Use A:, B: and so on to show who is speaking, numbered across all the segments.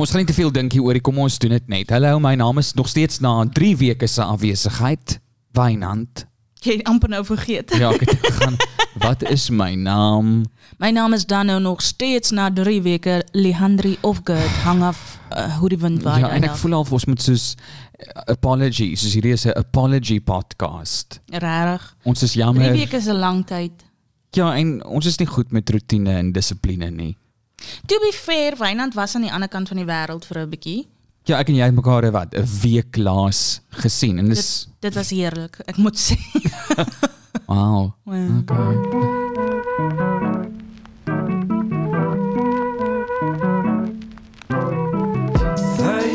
A: Ons gaan nie te veel dink hier oor die kom ons doen dit net. Hallo, my naam is nog steeds na 3 weke se afwesigheid Wynand.
B: Jy het amper nou vergeet.
A: Ja, ek het gaan. Wat is my naam?
B: My naam is dan nou nog steeds na 3 weke Lehandri Ofgurt hang af uh, hoe die wind waai.
A: ja, en ek
B: daar.
A: voel al of ons moet soos eh, apology, soos hierdie is 'n apology podcast.
B: Rarig.
A: Ons is
B: 3
A: jammer.
B: weke is 'n lang tyd.
A: Ja, en ons is nie goed met rotine en dissipline nie.
B: To be fair, Wynand was aan die ander kant van die wêreld vir 'n bietjie.
A: Ja, ek en jy het mekaar eh, wat 'n week laas gesien en dis
B: Dit, dit was heerlik, ek moet sê.
A: wow.
B: Wow.
A: Okay.
C: Vai,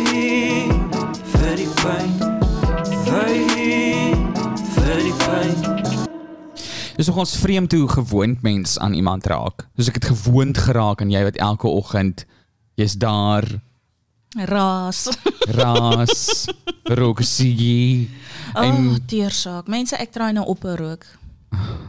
C: very fijn. Vai, very fijn.
A: Dis nog ons vreemd hoe gewoond mens aan iemand raak. Soos ek het gewoond geraak aan jy wat elke oggend jy's daar
B: Raas.
A: ras rook siggie
B: Oh,
A: en
B: teersaak. Mense, ek draai nou op 'n rook.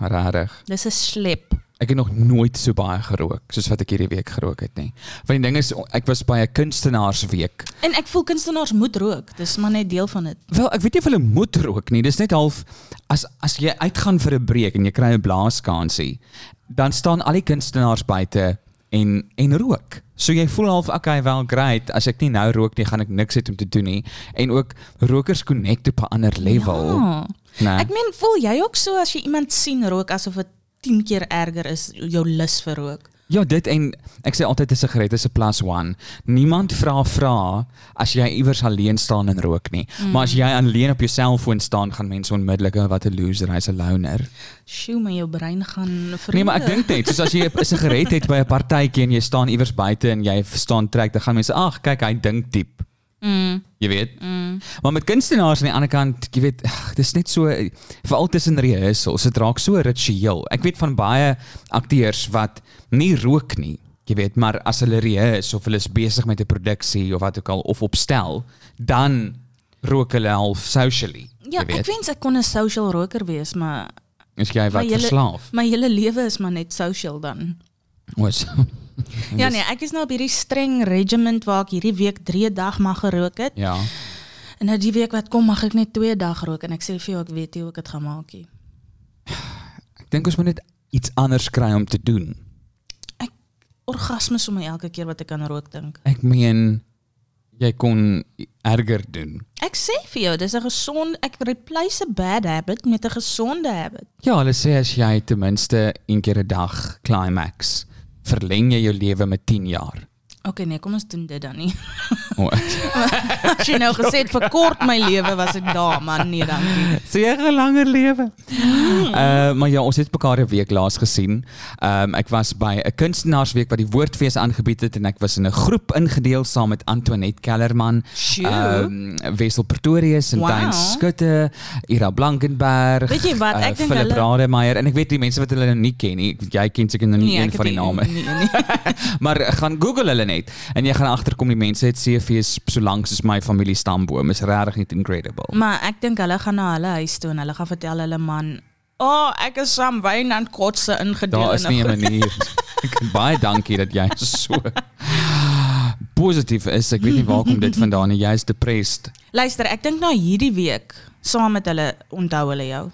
A: rarig.
B: Dis 'n slep.
A: Ek het nog nooit so baie gerook soos wat ek hierdie week gerook het nie. Want die ding is ek was by 'n kunstenaarsweek.
B: En ek voel kunstenaars moet rook. Dis maar net deel van dit.
A: Wel, ek weet nie of hulle moet rook nie. Dis net half as as jy uitgaan vir 'n breek en jy kry 'n blaaskansie, dan staan al die kunstenaars buite en en rook. So jy voel half okay, wel great. As ek nie nou rook nie, gaan ek niks hê om te doen nie. En ook rokers connect op 'n ander level. Ja.
B: Ja.
A: Nee.
B: Ek meen, voel jy ook so as jy iemand sien rook asof dit 10 keer erger is jou lus vir rook?
A: Ja, dit en ek sê altyd 'n sigaret is 'n plus one. Niemand vra vra as jy iewers alleen staan en rook nie. Mm. Maar as jy alleen op jou selfoon staan, gaan mense onmiddellik, "Oh, wat 'n loser, hy's 'n loner."
B: Sjoe, maar jou brein gaan verloor.
A: Nee, maar ek dink net, soos as jy 'n sigaret het by 'n partytjie en jy staan iewers buite en jy staan trek, dan gaan mense, "Ag, kyk, hy dink diep."
B: Mm,
A: Jy weet.
B: mm.
A: Maar met kunstenaars aan die ander kant, jy weet, ag, dis net so veral tussen rehearsals, dit raak so ritueel. Ek weet van baie akteurs wat nie rook nie. Jy weet, maar as hulle rehears of hulle is besig met 'n produksie of wat ook al of opstel, dan rook hulle half socially.
B: Ja,
A: jy weet.
B: ek wens ek kon 'n social roker wees, maar
A: Is jy
B: maar
A: wat
B: julle-
A: verslaaf?
B: My hele lewe is maar net social dan.
A: Ons.
B: Ja nee, ek is nou op hierdie streng regiment waar ek hierdie week 3 dag mag gerook het.
A: Ja.
B: En nou die week wat kom mag ek net 2 dag rook en ek sê vir jou ek weet nie hoe ek dit gaan maak nie.
A: Ek dink ons moet net iets anders kry om te doen.
B: Ek orgasme sommer elke keer wat ek aan rook dink.
A: Ek meen jy kon erger doen.
B: Ek sê vir jou, dis 'n gesond ek replace 'n bad habit met 'n gesonde habit.
A: Ja, hulle sê as jy ten minste een keer 'n dag climax, verleng jy jou lewe met 10 jaar. Oh.
B: OK nee, kom ons doen dit dan nie.
A: O,
B: As jy nou gesê het verkort my lewe was ek daar, man, nee dankie.
A: so jy gaan langer lewe. Uh maar ja, ons het mekaar 'n week laas gesien. Ehm um, ek was by 'n kunstenaarsweek wat die Woordfees aangebied het en ek was in 'n groep ingedeel saam met Antoinette Kellerman,
B: Sjoe.
A: ehm um, Wessel Pretorius en wow.
B: Wow.
A: Tyn Skutte, Ira Blankenberg.
B: Weet jy wat,
A: eh,
B: ek dink
A: Philip
B: hulle-
A: Rademeier en ek weet die mense wat hulle nou nie ken nie. Ek- Jy ken seker nou nie
B: Nee,
A: nee,
B: ek
A: een
B: het
A: van die
B: nie-
A: name
B: nee, nee.
A: maar eh, gaan Google hulle net en jy gaan agterkom die mense het CV's so lank soos my familie stamboom is regtig net incredible.
B: Maar ek dink hulle gaan na hulle huis toe en hulle gaan vertel hulle man, "O, oh, ek is saam wyn en kotse ingedeel
A: Daar is
B: in 'n
A: nie 'n
B: groep."
A: manier. Ek baie dankie dat jy so positief is. Ek weet nie waar kom dit vandaan nie. Jy's depressed.
B: Luister, ek dink na hierdie week saam met hulle onthou hulle jou.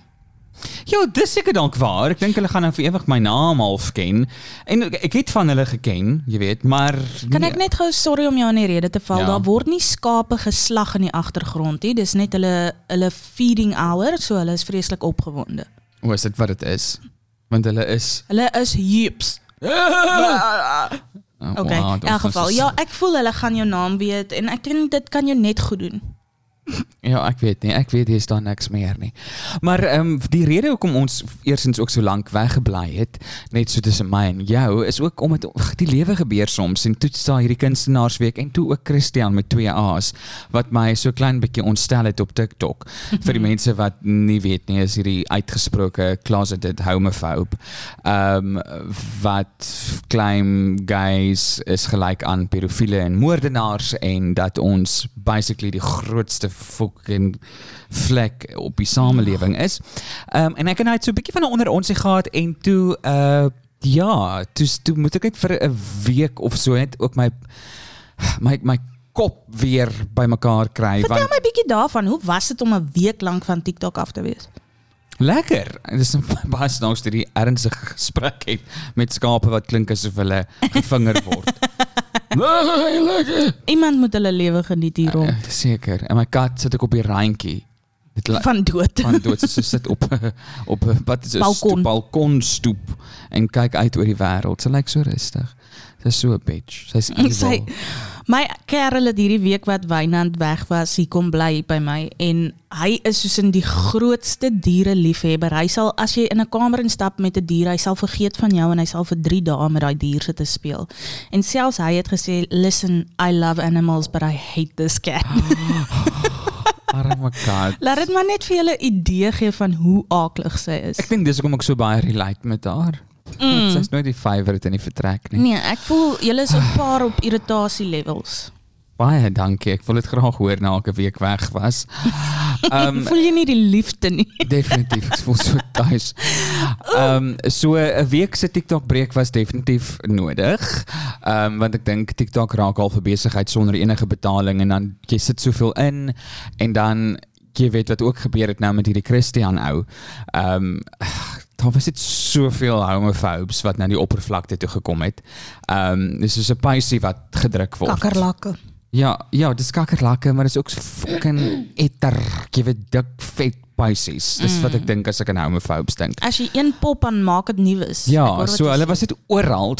A: Ja, dis seker dalk waar. Ek dink hulle gaan nou vir ewig my naam half ken. En ek- ek het van hulle geken, jy weet, maar
B: Kan
A: nee.
B: ek net gou sorry om jou in die rede te val.
A: Ja.
B: Ja. Daar word nie skape geslag in die agtergrond nie. Dis net hulle hulle feeding hour, so hulle is vreeslik opgewonde.
A: O, is dit wat dit is? Want hulle is
B: Hulle is heaps.
A: oh,
B: Okay,
A: wow,
B: in
A: ons
B: elk geval.
A: is-
B: Ja, ek voel hulle gaan jou naam weet en ek dink dit kan jou net goed doen.
A: Ja, ek weet nie. Ek weet hier is daar niks meer nie. Maar ehm um, die rede hoekom ons eersins ook so lank weggebly het, net so tussen my en jou, is ook omdat ag, die lewe gebeur soms en toe staan hierdie kunstenaarsweek en toe ook Christian met twee A's wat my so klein bietjie ontstel het op TikTok. Vir die mense wat nie weet nie, is hierdie uitgesproke closeted homophobe. Ehm wat claim gays is gelyk aan pedofiele en moordenaars en dat ons basically die grootste fucking vlek op die samelewing is. Ehm um, en ek en hy het so 'n bietjie van 'n onder onsie gehad en toe eh, uh ja, toe toe moet ek net vir 'n week of so net ook my my my kop weer bymekaar kry
B: Vertel
A: want
B: my bietjie daarvan. Hoe was dit om 'n week lank van TikTok af te wees?
A: lekker. En Dis 'n baie snaaks dat jy ernstige gesprek het met skape wat klink asof hulle gevinger word. Nee, lekker.
B: Iemand moet hulle lewe geniet hier rond.
A: Eh, Seker. En my kat sit ek op die randjie. Dit la-
B: Van dood.
A: van dood Sy- sy sit op op wat is 'n
B: Balkon.
A: stoep- balkonstoep en kyk uit oor die wêreld. Sy lyk so rustig. Sy's so 'n bitch. Sy's evil.
B: Sy- My kerel het hierdie week wat Wynand weg was, hy kom bly by my en hy is soos in die grootste diereliefhebber. Hy sal as jy in 'n kamer instap met 'n dier, hy sal vergeet van jou en hy sal vir 3 dae met daai dier sit te speel. En selfs hy het gesê, "Listen, I love animals, but I hate this cat."
A: Arme kat.
B: Laat dit maar net vir julle 'n idee gee van hoe aaklig sy is.
A: Ek dink dis hoekom ek so baie relate met haar. Mm. Sy's nooit die favorite in die vertrek nie.
B: Nee, ek voel julle is 'n paar op irritasie levels.
A: Baie dankie. Ek wil dit graag hoor na elke week weg was. Ehm
B: voel jy nie die liefde nie?
A: definitief ek voel so tuis. Ehm so 'n week se TikTok breek was definitief nodig. Ehm want ek dink TikTok raak al 'n besigheid sonder enige betaling en dan jy sit soveel in en dan jy weet wat ook gebeur het nou met hierdie Christian ou. Ehm daar was dit soveel homofobes wat na die oppervlakte toe gekom het. Ehm dis soos 'n pysie wat gedruk word.
B: Kakkerlakke.
A: Ja, ja, dis kakkerlakke, maar dis ook fucking etter, jy weet dik vet pysies. Dis wat
B: Mm.
A: ek dink as ek aan homophobes dink.
B: As jy een pop aan maak dit nuus is.
A: Ja,
B: Ek hoor wat
A: so
B: jy
A: hulle
B: sê.
A: was dit oral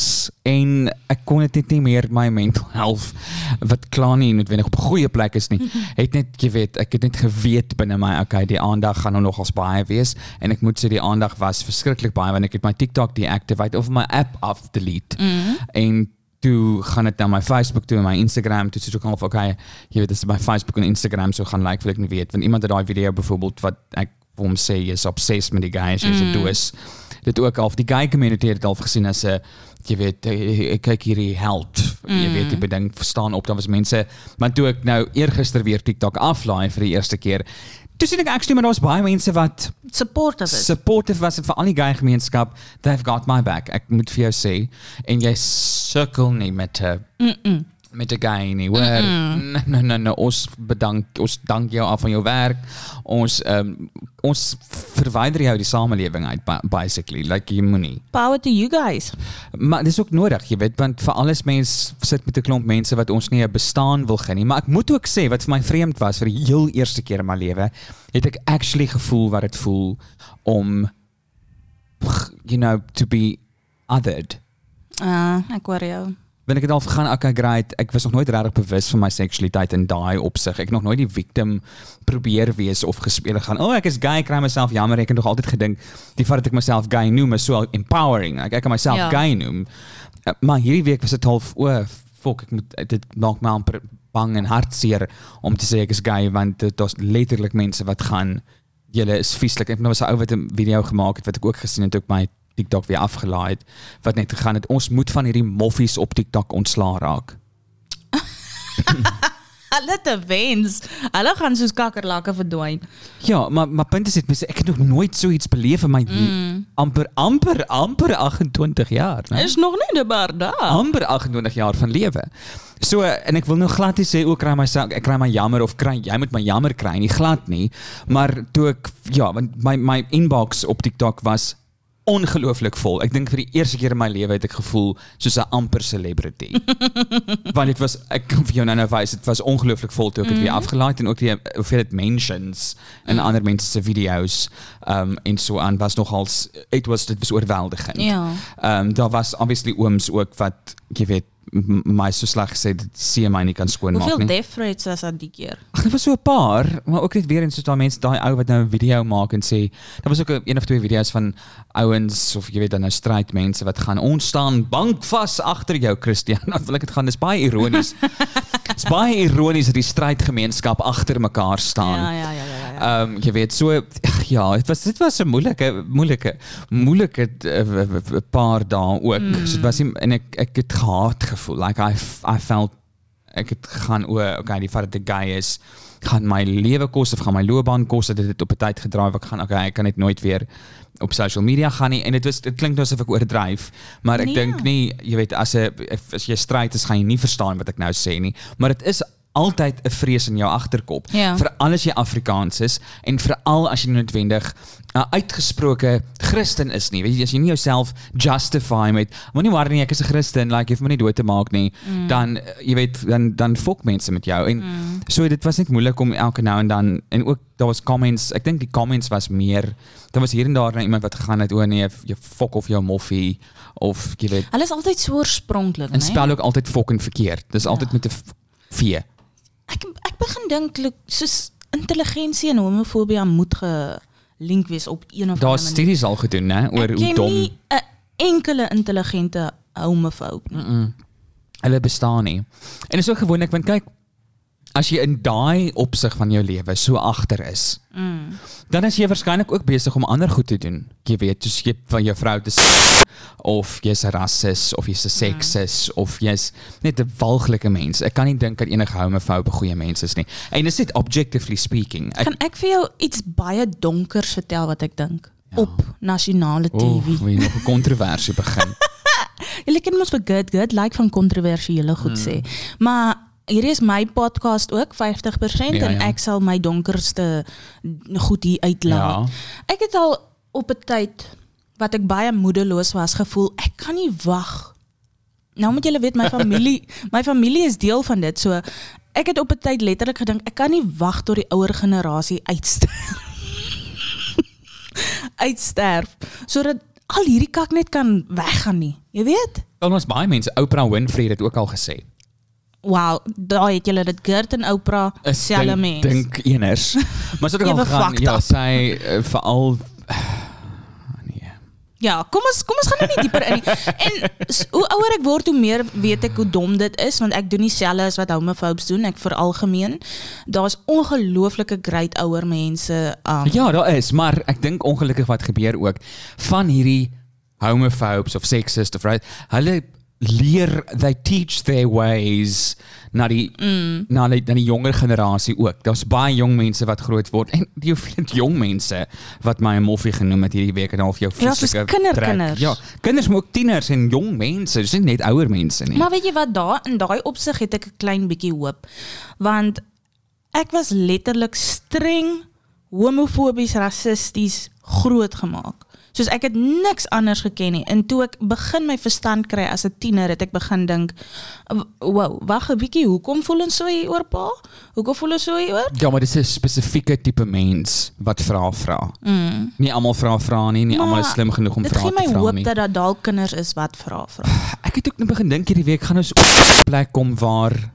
A: en ek kon dit net nie meer my mental health wat klaar nie noodwendig op 'n goeie plek is nie. Het net jy weet, ek het net geweet binne my, okay, die aandag gaan nou nogals baie wees en ek moet sê die aandag was verskriklik baie want ek het my TikTok deactivate of my app af delete. Mm. En toe gaan dit na my Facebook toe en my Instagram toe soos ook al of okay, jy weet, dis my Facebook en Instagram so gaan like wil ek nie weet want iemand het daai video byvoorbeeld wat ek vir hom sê jy's obsessed met die guy, jy's 'n doos. Dit ook al die gay community het dit al gesien as 'n jy weet eh, ek kyk hierdie held. Jy weet die beding verstaan op dan was mense maar toe ek nou eergister weer TikTok aflaai vir die eerste keer. Toe sien ek actually maar daar's baie mense wat
B: supportive is.
A: supportive was en vir al die gay gemeenskap, they've got my back. Ek moet vir jou sê en jy sukkel nie met 'n met 'n guy nie. Hoor. Nee nee nee, nee, ons bedank ons dank jou af van jou werk. Ons ehm ons verwyder jou uit die samelewing uit ba- basically. Like jy moenie.
B: Power to you guys.
A: Maar dis ook nodig, jy weet, want vir alles mens sit met 'n klomp mense wat ons nie 'n bestaan wil gee nie, maar ek moet ook sê wat vir my vreemd was vir die heel eerste keer in my lewe, het ek actually gevoel wat dit voel om you know to be othered.
B: Uh, ek hoor jou.
A: Want ek het al gegaan, okay, great. Ek was nog nooit regtig bewus van my seksualiteit in daai opsig. Ek het nog nooit die victim probeer wees of gespeel gaan. O, oh, ek is gay, ek kry myself jammer. Ek het nog altyd gedink die feit dat ek myself gay noem is so empowering. Ek ek kan myself
B: Ja.
A: ja. gay noem. Eh, Maar hierdie week was dit half o, oh, fok, ek moet dit maak my amper bang en hartseer om te sê ek is gay want dit daar's letterlik mense wat gaan julle is vieslik. Ek het nou was 'n ou wat 'n video gemaak het wat ek ook gesien het op my TikTok weer afgelaai het wat net gegaan het. Ons moet van hierdie moffies op TikTok ontslaa raak.
B: Hulle te wens. Hulle gaan soos kakkerlakke verdwyn.
A: Ja, maar maar punt is dit mense, ek het nog nooit so iets beleef in my mm. amper amper amper 28 jaar, né?
B: Is nog nie daar daar.
A: amper 28 jaar van lewe. So en ek wil nou glad nie sê ook kry myself ek kry my jammer of kry jy moet my jammer kry nie glad nie, maar toe ek ja, want my my inbox op TikTok was ongelooflik vol. Ek dink vir die eerste keer in my lewe het ek gevoel soos 'n amper celebrity. Want dit was ek kan vir jou nou nou wys, dit was ongelooflik vol toe ek dit weer afgelaai het en ook die hoeveelheid mentions in ander mense se video's um en so aan was nogals it was dit was oorweldigend.
B: Ja.
A: Ehm daar was obviously ooms ook wat jy weet m- my so sleg gesê dit sien my nie kan skoonmaak
B: Hoeveel
A: nie.
B: death threats was aan die keer?
A: Ag, Daar was so 'n paar, maar ook net weer eens soos daai mense daai ou wat nou 'n video maak en sê daar was ook 'n- een of twee video's van ouens of jy weet dan nou stryd mense wat gaan ons staan bankvas agter jou Christian. Dan wil ek dit gaan dis baie ironies. Dis baie ironies dat die strydgemeenskap agter mekaar staan.
B: Ja, ja, ja, ja, ja, ja.
A: Ehm jy weet so ag, ja, dit was dit was 'n moeilike moeilike moeilike eh, w- w- w- paar dae ook. Mm. So dit was nie, en ek ek het gehaat gevoel. Like I f- I felt Ek het gegaan o, okay, die feit dat ek gay is, gaan my lewe kos of gaan my loopbaan kos dat dit het op 'n tyd gedraai wat ek gaan okay, ek kan dit nooit weer op social media gaan nie en dit was dit klink nou asof ek oordryf, maar ek
B: Nee.
A: dink nie, jy weet as 'n as jy stryd is, gaan jy nie verstaan wat ek nou sê nie, maar dit is altyd 'n vrees in jou agterkop.
B: Ja.
A: Veral as jy Afrikaans is en veral as jy nie noodwendig 'n uitgesproke Christen is nie. Weet jy, as jy nie jouself justify met moenie worry nie, ek is 'n Christen, like jy hoef my nie dood te maak nie, dan eh, jy weet dan dan fok mense met jou en so dit was net moeilik om elke nou en dan en ook daar was comments, ek dink die comments was meer daar was hier en daar na iemand wat gegaan het o nee, jy fok of jou moffie of jy weet
B: Hulle is altyd so oorspronklik,
A: en
B: né?
A: spel ook altyd fucking verkeerd.
B: Ja.
A: Dis altyd met 'n f- v.
B: Ek ek begin dink look, soos intelligensie en homofobie moet gelink wees op een of
A: Daar's
B: ander
A: studies al gedoen, né, oor
B: Ek
A: hoe
B: ken
A: dom
B: nie 'n enkele intelligente homofoob nie.
A: hulle bestaan nie. En is ook gewoonlik want kyk as jy in daai opsig van jou lewe so agter is,
B: Mm.
A: dan is jy waarskynlik ook besig om ander goed te doen. Jy weet, soos jy van jou vrou te s- of jy's 'n rassis of jy's 'n
B: Mm.
A: seksis of jy's net 'n walglike mens. Ek kan nie dink dat enige homofoob 'n goeie mens is nie. En dis net objectively speaking. Ek
B: Kan ek vir jou iets baie donkers vertel wat ek dink
A: Ja.
B: op nasionale
A: Oef,
B: TV?
A: weer nog 'n kontroversie begin.
B: Julle ken mos vir good good like van kontroversiële goed
A: Mm.
B: sê. Maar hierdie is my podcast ook 50%
A: Ja,
B: en
A: ja.
B: ek sal my donkerste goed hier uitlaat. Ek het al op 'n tyd wat ek baie moedeloos was gevoel, ek kan nie wag. Nou moet julle weet my familie, my familie is deel van dit. So ek het op 'n tyd letterlik gedink ek kan nie wag tot die ouer generasie uitsterf. uitsterf sodat al hierdie kak net kan weggaan nie. Jy weet?
A: Dan ons baie mense Oprah Winfrey het dit ook al gesê.
B: Wow, daai het julle dit Gert en Oprah
A: Is
B: selfe
A: dink-
B: mens.
A: Dink eners. Maar so dit
B: Ewe
A: al gaan.
B: fucked
A: Ja,
B: up.
A: sy uh, veral nee.
B: Ja, kom ons kom ons gaan nou nie dieper in nie. En s- hoe ouer ek word, hoe meer weet ek hoe dom dit is want ek doen dieselfde as wat homofoobes doen, ek veralgemeen. Daar's ongelooflike great ouer mense. Um,
A: Ja, daar is, maar ek dink ongelukkig wat gebeur ook van hierdie homophobes of sexist of right. Hulle leer they teach their ways na die mm. na die, na die jonger generasie ook. Daar's baie jong mense wat groot word en die hoeveelheid jong mense wat my 'n moffie genoem het hierdie week en half jou
B: Ja, soos kinderkinders.
A: Ja, kinders maar ook tieners en jong mense, dis nie net ouer mense nie.
B: maar weet jy wat daar in daai opsig het ek 'n klein bietjie hoop want ek was letterlik streng homofobies, rassisties grootgemaak. Soos ek het niks anders geken nie. En toe ek begin my verstand kry as 'n tiener, het ek begin dink, "W- "Wow, wag 'n bietjie, hoekom voel ons so hier oor pa? Hoekom voel ons so hier oor?"
A: Ja, maar dis 'n spesifieke tipe mens wat vra vra. Mm. Nie almal vra vra nie, nie almal is
B: Maar
A: slim genoeg om
B: dit
A: vra te
B: gee
A: vra nie.
B: my hoop dat daar dalk kinders is wat vra vra.
A: Ek het ook net begin dink hierdie week gaan ons op 'n plek kom waar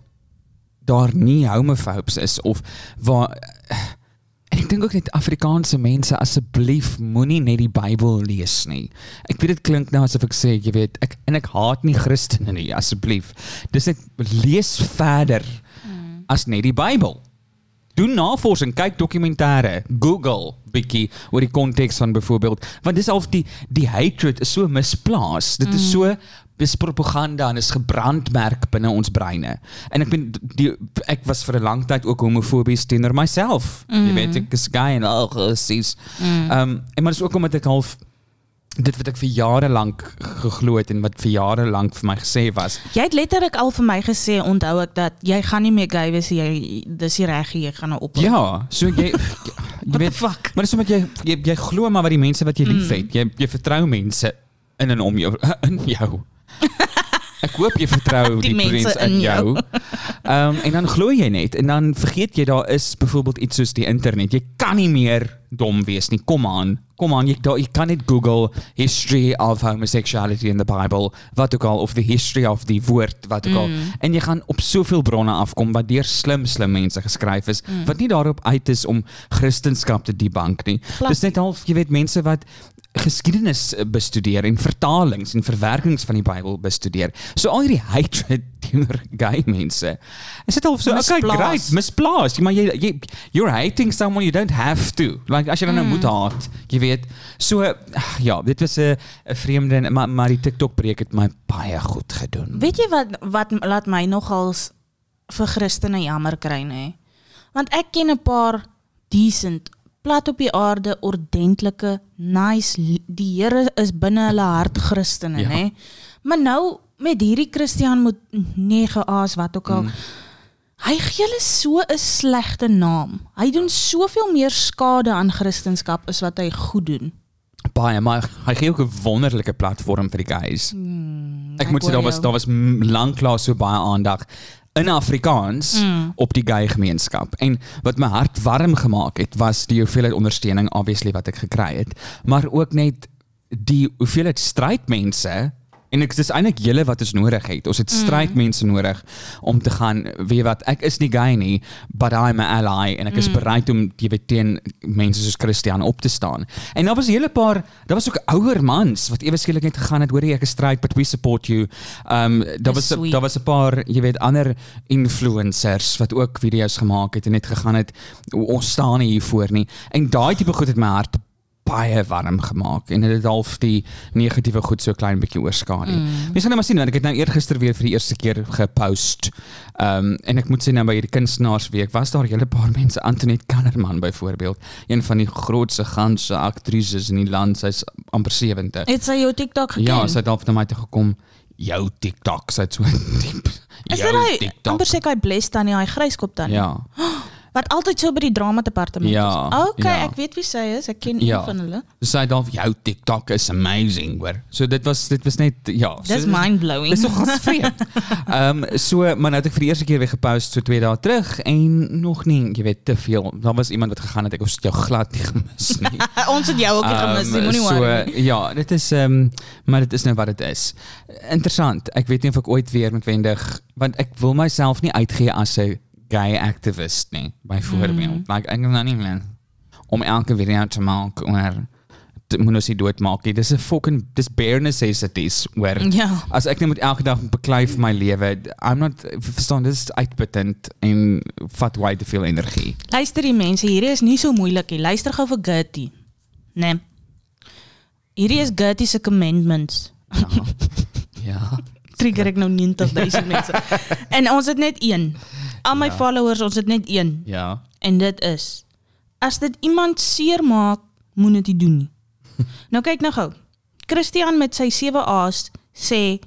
A: daar nie homofoobes is of waar en ek dink ook net Afrikaanse mense asseblief moenie net die Bybel lees nie. Ek weet dit klink nou asof ek sê, jy weet, ek en ek haat nie Christene nie, asseblief. Dis net lees verder as net die Bybel. Doen navorsing, kyk dokumentêre, Google bietjie oor die konteks van byvoorbeeld, want dis al die die hatred is so misplaas. Dit
B: Mm.
A: is so dis propaganda en is gebrandmerk binne ons breine. En ek ben die ek was vir 'n lang tyd ook homofobies teenoor myself.
B: Mm.
A: Jy weet ek is gay en al presies. Ehm en maar dis ook omdat ek half dit wat ek vir jare lank geglo het en wat vir jare lank vir my gesê was.
B: Jy het letterlik al vir my gesê, onthou ek dat jy gaan nie meer gay wees, jy dis nie reg, jy gaan nou op.
A: Ja, so jy jy
B: What the
A: weet
B: fuck?
A: Maar dis omdat jy jy, jy glo maar wat die mense wat jy liefhet. Jy jy vertrou mense in en om jou in jou. Ek hoop jy vertrou die,
B: Die mense
A: mense in
B: in
A: jou. Ehm um, en dan glo jy net en dan vergeet jy daar is byvoorbeeld iets soos die internet. Jy kan nie meer dom wees nie. Kom aan. Kom aan, jy daar jy kan net Google history of homosexuality in the Bible, wat ook al of the history of die woord wat ook al. En jy gaan op soveel bronne afkom wat deur slim slim mense geskryf is wat nie daarop uit is om Christendom te debunk nie.
B: Glad
A: Dis net half, jy weet mense wat geskiedenis eh, bestudeer en vertalings en verwerkings van die Bybel bestudeer. So al hierdie hatred teenoor gay mense. Is dit al so okay,
B: Misplaas.
A: great, misplaas, maar jy jy you're hating someone you don't have to. Like as jy dan nou moet haat, jy weet. So ag, ja, dit was 'n 'n vreemde en- maar maar die TikTok breek het my baie goed gedoen.
B: Weet jy wat wat laat my nogals vir Christene jammer kry nê. Want ek ken 'n paar decent plat op die aarde ordentlike nice li- die Here is binne hulle hart Christene
A: Ja.
B: ja. nê. Maar nou met hierdie Christian moet nege aas wat ook al. Mm. Hy gee hulle so 'n slegte naam. Hy doen soveel meer skade aan Christendom as wat hy goed doen.
A: Baie, maar hy gee ook 'n wonderlike platform vir die guys. ek
B: Hmm, ek
A: moet sê daar
B: hoor
A: was
B: jou.
A: daar was m- lanklaas so baie aandag in Afrikaans
B: Hmm.
A: op die gay gemeenskap. En wat my hart warm gemaak het was die hoeveelheid ondersteuning obviously wat ek gekry het, maar ook net die hoeveelheid strydmense en ek dis eintlik julle wat ons nodig het. Ons het
B: Mm.
A: strydmense nodig om te gaan weet wat ek is nie gay nie, but I'm an ally en
B: Mm.
A: ek is bereid om jy weet teen mense soos Christian op te staan. En daar was 'n hele paar, daar was ook ouer mans wat ewe skielik net gegaan het, hoor jy ek is stryd but we support you. Um daar was
B: Dis sweet.
A: daar was 'n paar, jy weet, ander influencers wat ook video's gemaak het en net gegaan het ons staan nie hiervoor nie. En daai tipe goed het my hart baie warm gemaak en dit het half die negatiewe goed so klein bietjie oorskadu. Mm. Mens gaan nou maar sien want ek het nou eergister weer vir die eerste keer gepost. Ehm um, en ek moet sê nou by hierdie kunstenaarsweek was daar 'n hele paar mense Antoinette Kellerman byvoorbeeld, een van die grootste ganse aktrises in die land, sy's amper 70.
B: Het sy jou TikTok geken?
A: Ja, sy het half na my toe gekom. Jou TikTok, sy het so diep.
B: Is
A: "Jou
B: dit hy amper seker hy bless tannie, hy gryskop tannie
A: Ja.
B: wat altyd so by die drama departement
A: Ja,
B: is. Okay,
A: ja.
B: ek weet wie sy is. Ek ken
A: Ja.
B: een van hulle.
A: Dus Sy het half jou TikTok is amazing, hoor. So dit was dit was net ja, so
B: Dis
A: dit was-
B: mind blowing.
A: Dis nog vreemd. Ehm so maar nou het ek vir die eerste keer weer gepost so 2 dae terug en nog nie, jy weet, te veel. Daar was iemand wat gegaan het ek het jou glad nie gemis nie.
B: Ons het jou ook nie gemis, jy
A: Ehm,
B: moenie
A: so,
B: worry. nie.
A: Ja, dit is ehm maar dit is nou wat dit is. Interessant. Ek weet nie of ek ooit weer noodwendig want ek wil myself nie uitgee as 'n gay activist nie, byvoorbeeld. Mm. Like ek is nou nie meer om elke video te maak oor dit moet ons nie doodmaak nie. Dis 'n fucking dis bare necessities oor
B: Ja.
A: As ek net moet elke dag beklei vir my lewe, I'm not verstaan dis is uitputtend en vat baie te veel energie.
B: Luister die mense, hierdie is nie so moeilik nie. Luister gou vir Gertie. Nee. Hierdie is Gertie se commandments.
A: Ja. ja.
B: Trigger ek nou 90000 mense. en ons het net een. Al my
A: Ja.
B: followers, ons het net een.
A: Ja.
B: En dit is as dit iemand seermaak, moet dit nie doen nie. nou kyk nou gou. Christian met sy 7 A's sê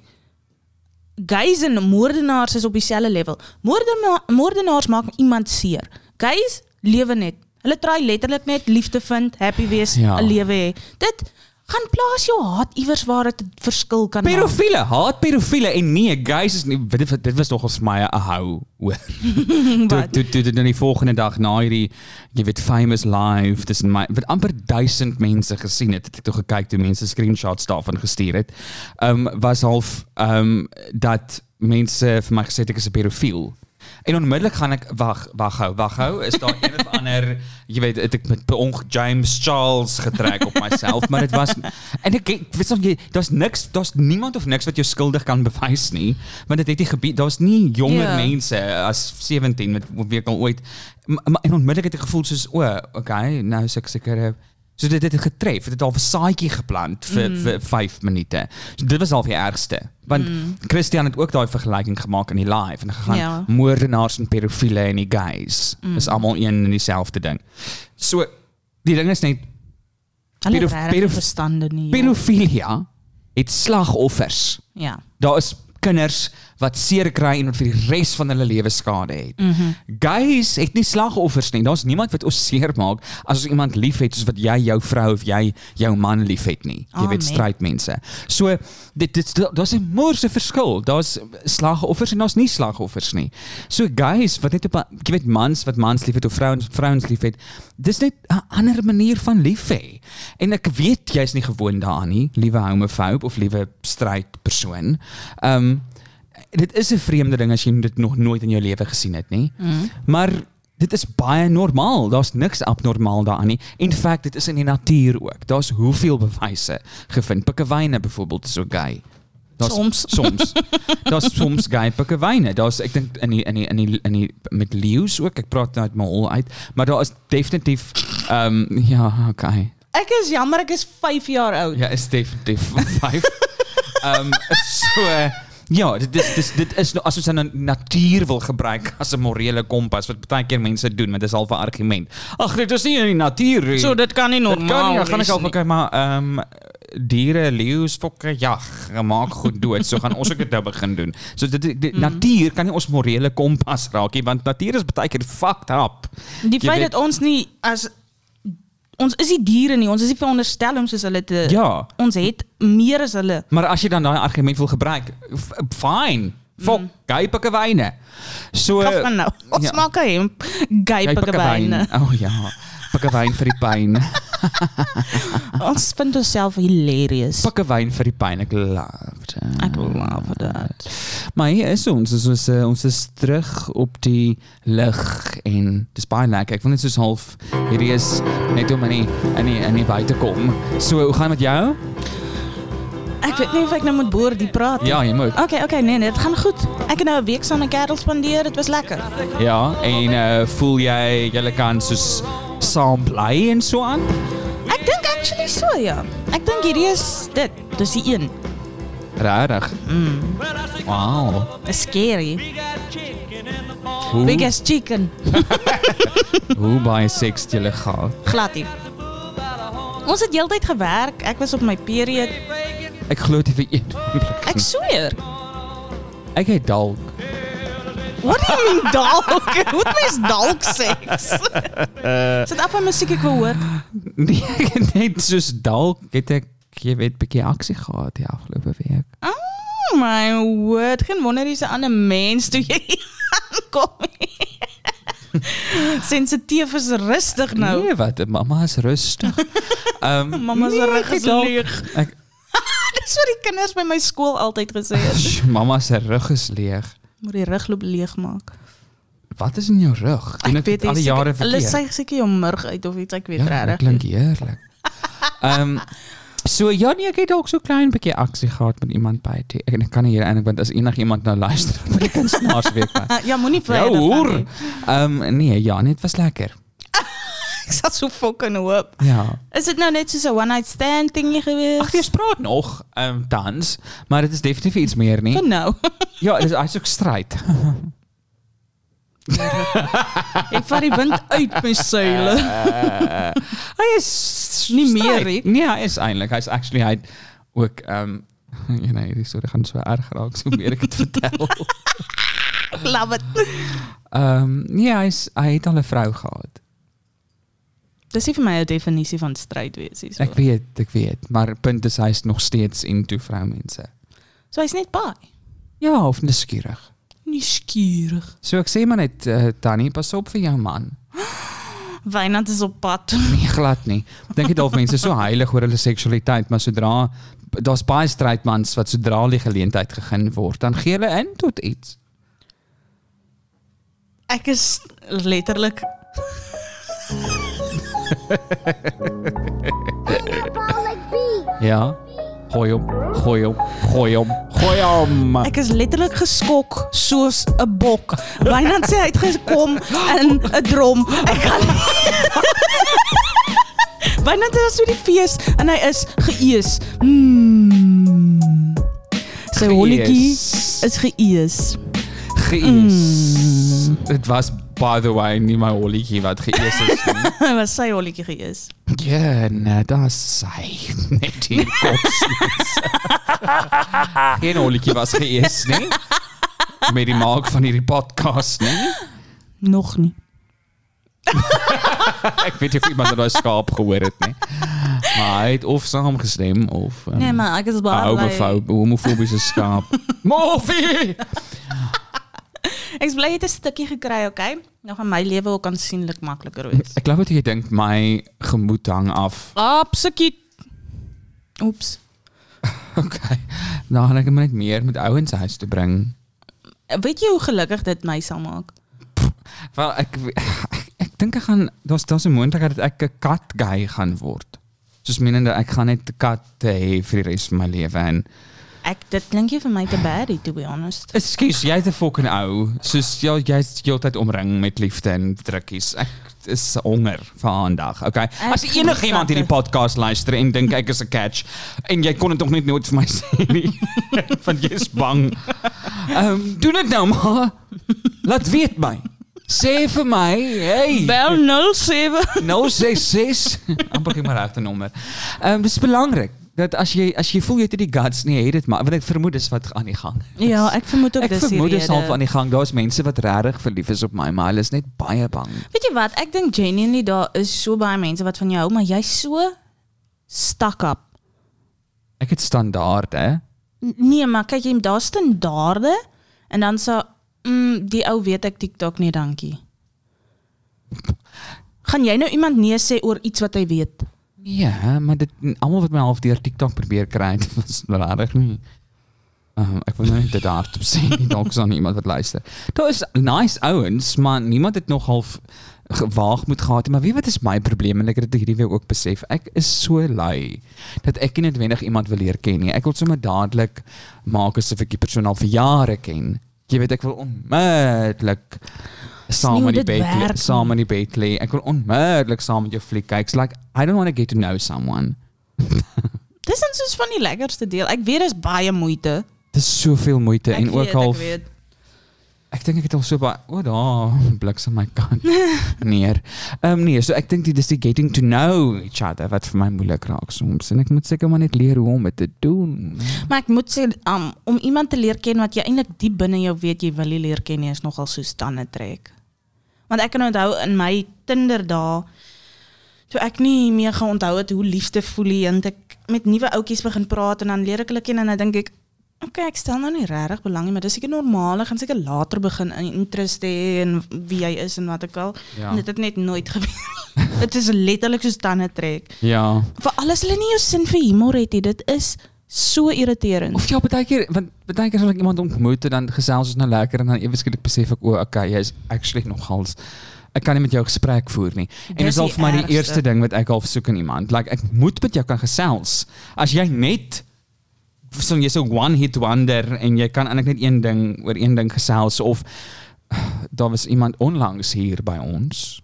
B: guys en moordenaars is op dieselfde level. Moordena moordenaars maak iemand seer. Guys lewe net. Hulle try letterlik net liefde vind, happy wees, 'n
A: Ja.
B: lewe hê. Dit gaan plaas jou haat iewers waar dit 'n verskil kan maak.
A: Pedofiele, haat pedofiele en nee, guys is nie dit, dit was nogals my 'n hou hoor. toe
B: Wat?
A: toe toe dit dan die volgende dag na hierdie jy weet famous live tussen my wat amper 1000 mense gesien het. het Ek het toe gekyk toe mense screenshots daarvan gestuur het. Ehm was half ehm dat mense vir my gesê het ek is 'n pedofiel. En onmiddellik gaan ek wag, wag hou, wag hou. Is daar een of ander, jy weet, het ek met per ongeluk James Charles getrek op myself, maar dit was en ek ek weet of jy daar's niks, daar's niemand of niks wat jou skuldig kan bewys nie, want dit het nie gebied, daar's nie jonger
B: Ja.
A: yeah. mense mense eh, as 17 met wie ek al ooit maar maar- en onmiddellik het ek gevoel soos o, okay, nou is ek seker eh, so dit dit het getref, dit het al 'n saadjie geplant vir mm. vir 5 minute. So dit was al die ergste. Want mm. Christian het ook daai vergelyking gemaak in die live en gegaan
B: Ja.
A: ja. moordenaars en pedofiele en die gays. Mm. Is almal een en dieselfde ding. So die ding is net
B: Hulle
A: pedof-
B: het regtig
A: pedof-
B: verstande nie. joh.
A: pedofilia het slagoffers
B: Ja.
A: daar is kinders wat seer kry en wat vir die res van hulle lewe skade het. Mm -hmm. Guys het nie slagoffers nie. Daar's niemand wat ons seermaak as ons iemand liefhet soos wat jy jou vrou of jy jou man liefhet nie. Jy
B: Amen.
A: weet stryd mense. So dit dit daar's 'n moorse verskil. Daar's slagoffers en daar's nie slagoffers nie. So guys wat net op 'n- jy weet mans wat mans liefhet of vrouens wat vrouens liefhet, dis net 'n ander manier van lief hê. En ek weet jy's nie gewoond daaraan nie, liewe homofoob of liewe stryd persoon. Ehm um, dit is 'n vreemde ding as jy dit nog nooit in jou lewe gesien het nie. Mm. Maar dit is baie normaal. Daar's niks abnormaal daaraan nie. In feite, dit is in die natuur ook. Daar's hoeveel bewyse gevind. Pikkewyne byvoorbeeld is ook gay. Daar's
B: Soms.
A: soms. Daar's soms gay pikkewyne. Daar's ek dink in die in die in die in die met leeu's ook. Ek praat nou uit my hol uit, maar daar is definitief ehm um, ja, okay.
B: Ek is jammer ek is 5 jaar oud.
A: Ja, is definitief 5. Ehm so Ja, dit is dis dit is nou as ons nou natuur wil gebruik as 'n morele kompas wat baie keer mense doen met 'n halve argument. Ag, dit is nie in die natuur nie.
B: So dit kan nie
A: Dit
B: normaal.
A: kan nie, dan gaan ek
B: wees
A: al
B: nie.
A: kyk maar ehm diere, leeu's, fokke, jag, maak goed dood. So gaan ons ook dit nou begin doen. So dit die
B: Mhm.
A: natuur kan nie ons morele kompas raak nie, want natuur is baie keer fucked up.
B: Die
A: Jy
B: feit
A: weet-
B: dat ons nie as ons is nie diere nie, ons is nie veronderstel om soos hulle te
A: Ja.
B: eh, Ons het meer as hulle.
A: Maar as jy dan daai argument wil gebruik, f- fine. Fok, mm. geypike wyne. So
B: Af van nou. Ons
A: Eh, ja.
B: maak 'n hemp geypige wyne.
A: O oh, ja, pikke wyn vir die pyn.
B: Ons vind onsself hilarious.
A: Pikke wyn vir die pyn. Ek love dit.
B: Ek love dit.
A: Maar hier is ons, ons is eh, ons is terug op die lig en dis baie lekker. Ek wil net soos half hierdie is net om in die in die in die buite kom. So, hoe gaan dit met jou?
B: Ek weet nie of ek nou moet boer die praat. nie.
A: Ja, jy moet.
B: Oké, oké, nee, nee, dit gaan goed. Ek het nou 'n week saam met Karel spandeer, dit was lekker.
A: Ja, en eh voel jy jy kan soos saam bly en so aan?
B: Ek dink actually so ja. Ek dink hierdie is dit. Dis die een.
A: Regtig?
B: Mm.
A: Wow.
B: Dis scary.
A: Hoe
B: Big as chicken.
A: hoe baie seks het jy gehad?
B: Glad nie. Ons het heeltyd gewerk. Ek was op my period.
A: Ek glo dit vir een oomblik.
B: Ek sweer.
A: Ek het dalk
B: Wat do you mean dalk? Wat mens dalk seks?
A: Eh,
B: Sit af van musiek ek wil hoor.
A: nee, ek het net soos dalk het ek jy weet bietjie aksie gehad die afgelope week.
B: Oh my word, geen wonder jy's 'n ander mens toe jy hier aankom. Sensitief is rustig nou.
A: Nee, wat mamma is rustig. Ehm
B: Mamma se
A: nee,
B: rug
A: ek
B: is
A: het dalk-
B: leeg.
A: Ek
B: Dis wat die kinders by my skool altyd gesê het.
A: Sj, mamma se rug is leeg.
B: Moet die rugloop leeg maak.
A: Wat is in jou rug? Doen ek dit al die jare
B: Hulle
A: verkeerd.
B: sê seker jou murg uit of iets, ek weet
A: Ja, dit
B: regtig.
A: klink heerlik. Ehm So ja nee, ek het ook so klein bietjie aksie gehad met iemand by te. Ek, ek kan nie hier eintlik want as enigiemand nou luister, moet ek kunstenaarsweek by.
B: Ah, Ja, moenie vir
A: Ja
B: dit gaan
A: hoor.
B: nie.
A: Ehm nee, ja, net was lekker.
B: Ek sal so fucking hoop.
A: Ja.
B: Is dit nou net soos 'n one night stand dingie gewees?
A: Ag, jy spraak nog ehm tans, maar dit is definitief iets meer nie.
B: Vir nou.
A: Ja, dit is hy's ook stryd.
B: Ek vat die wind uit my seile.
A: Uh, hy is
B: Nie
A: stryd.
B: meer nie.
A: Nee, hy is eintlik. Hy's actually hy het ook ehm ja nee, hierdie storie gaan so erg raak so meer ek dit vertel.
B: Ek Love it.
A: Ehm nee, hy's hy het al 'n vrou gehad.
B: Dis nie vir my 'n definisie van stryd wees nie. So,
A: Ek weet, ek weet, maar punt is hy's nog steeds into vroumense.
B: so hy's net baie
A: Ja, of nuuskierig.
B: nuuskierig.
A: So ek sê maar net uh, Tannie, pas op vir jou man.
B: Wynand is op pad.
A: Nee, glad nie. Ek Dink jy dalk mense is so heilig oor hulle seksualiteit, maar sodra daar's baie strydmans wat sodra hulle die geleentheid gegeen word, dan gee hulle in tot iets.
B: Ek is letterlik
A: Ja. Gooi hom, gooi hom, gooi hom, gooi hom.
B: Ek is letterlik geskok soos 'n bok. Wynand sê hy het gekom in 'n drom. Ek kan Wynand is so die fees en hy is geëes. Mm. Sy holletjie
A: Geëes.
B: is geëes.
A: Gees. Dit was by the way nie my holletjie wat geëes is nie.
B: Was sy holletjie geëes?
A: ja, nee, daar's sy net in kops. Geen holletjie was geëes nie. Met die maak van hierdie podcast nie.
B: Nog nie.
A: Ek weet nie of iemand daai skaap gehoor het nie. Maar hy het of saamgestem of um,
B: Nee, maar ek is baie bly.
A: homofoob, homofobiese skaap. Morfie.
B: Ek is bly jy het 'n stukkie gekry, okay? Nou gaan my lewe ook aansienlik makliker wees.
A: Ek glo wat jy dink my gemoed hang af.
B: Absoluut. Oeps.
A: Okay. Nou gaan ek hom net meer met ouens huis toe bring.
B: Weet jy hoe gelukkig dit my sal maak?
A: Wel ek we- ek, ek dink ek gaan daar's daar's 'n moontlikheid dat ek 'n kat Dus eh, guy gaan word. Soos menende ek gaan net 'n kat hê vir die res van my lewe en
B: ek dit klink nie vir my te baddie to be honest.
A: Ekskuus, jy's 'n fucking ou. Soos ja, jy's heeltyd omring met liefde en drukkies. Ek is honger vir aandag. Okay. As
B: Ek
A: enige iemand hierdie
B: snap
A: podcast luister en dink ek is 'n catch en jy kon dit nog net nooit vir my sê nie, want jy's bang. Ehm, um, doen dit nou maar. Laat weet my. Sê vir my, hey.
B: Bel 07.
A: 066 amper geen maar regte nommer. Ehm dis belangrik dat as jy as jy voel jy het nie die guts nie, het dit maar want ek vermoed dis wat aan die gang. is.
B: Ja, ek vermoed ook
A: Ek
B: dis die
A: vermoed dis half
B: rede.
A: aan die gang. Daar's mense wat regtig verlief is op my, maar hulle is net baie bang.
B: Weet jy wat? Ek dink genuinely daar is so baie mense wat van jou hou, maar jy's so stuck up.
A: Ek het standaarde.
B: N- Nee, maar kyk jy, daar's standaarde en dan so mm, die ou weet ek TikTok nie, dankie. Gaan jy nou iemand nee sê oor iets wat hy weet?
A: Ja, maar dit almal wat my half deur TikTok probeer kry, het was regtig nie. Um, ek wil nou net dit hardop sê, nie, dalk is daar nie iemand wat luister. Daar is nice ouens, maar niemand het nog half gewaag moet gehad, het. maar weet wat is my probleem en ek het dit hierdie week ook besef. Ek is so lui dat ek nie noodwendig iemand wil leer ken nie. Ek wil sommer dadelik maak asof ek die persoon al vir jare ken. Jy weet ek wil onmiddellik
B: nie
A: saam
B: hoe
A: in die
B: dit
A: bed lê,
B: werk
A: saam in die bed lê. Ek wil onmiddellik saam met jou fliek kyk. It's like I don't want to get to know someone.
B: Dis dan soos van die lekkerste deel. Ek weet dis baie moeite.
A: Dis soveel moeite
B: Ek
A: en ook
B: weet,
A: al
B: ek weet.
A: Ek dink ek het al so baie o daar bliksem my kant neer. Ehm um, nee, so ek dink dit is die getting to know each other wat vir my moeilik raak soms en ek moet seker maar net leer hoe om dit te doen.
B: Maar ek moet sê um, om iemand te leer ken wat jy eintlik diep binne jou weet jy wil nie leer ken nie is nogal so stande trek. Want ek kan onthou in my Tinder dae toe ek nie meer geonthou het hoe liefde voel nie en ek met nuwe ouetjies begin praat en dan leer ek hulle ken en dan dink ek Okay, ek stel nou nie regtig belang nie, maar dis seker normaal. Ek gaan seker later begin in interest hê en wie jy is en wat ek al.
A: Ja.
B: En Dit het net nooit gebeur. nie. Dit is letterlik so tande trek.
A: Ja.
B: Vir alles hulle nie jou sin vir humor het nie. Dit is so irriterend.
A: Of ja, baie keer want baie keer as ek iemand ontmoet en dan gesels ons nou lekker en dan ewe skielik besef ek o, okay, jy's actually nogals ek kan nie met jou gesprek voer nie. En
B: Dis
A: dis al
B: die
A: vir my die
B: ergste.
A: eerste ding wat ek half soek in iemand. Like ek moet met jou kan gesels. As jy net so jy's 'n one hit wonder en jy kan eintlik net een ding oor een ding gesels of daar was iemand onlangs hier by ons.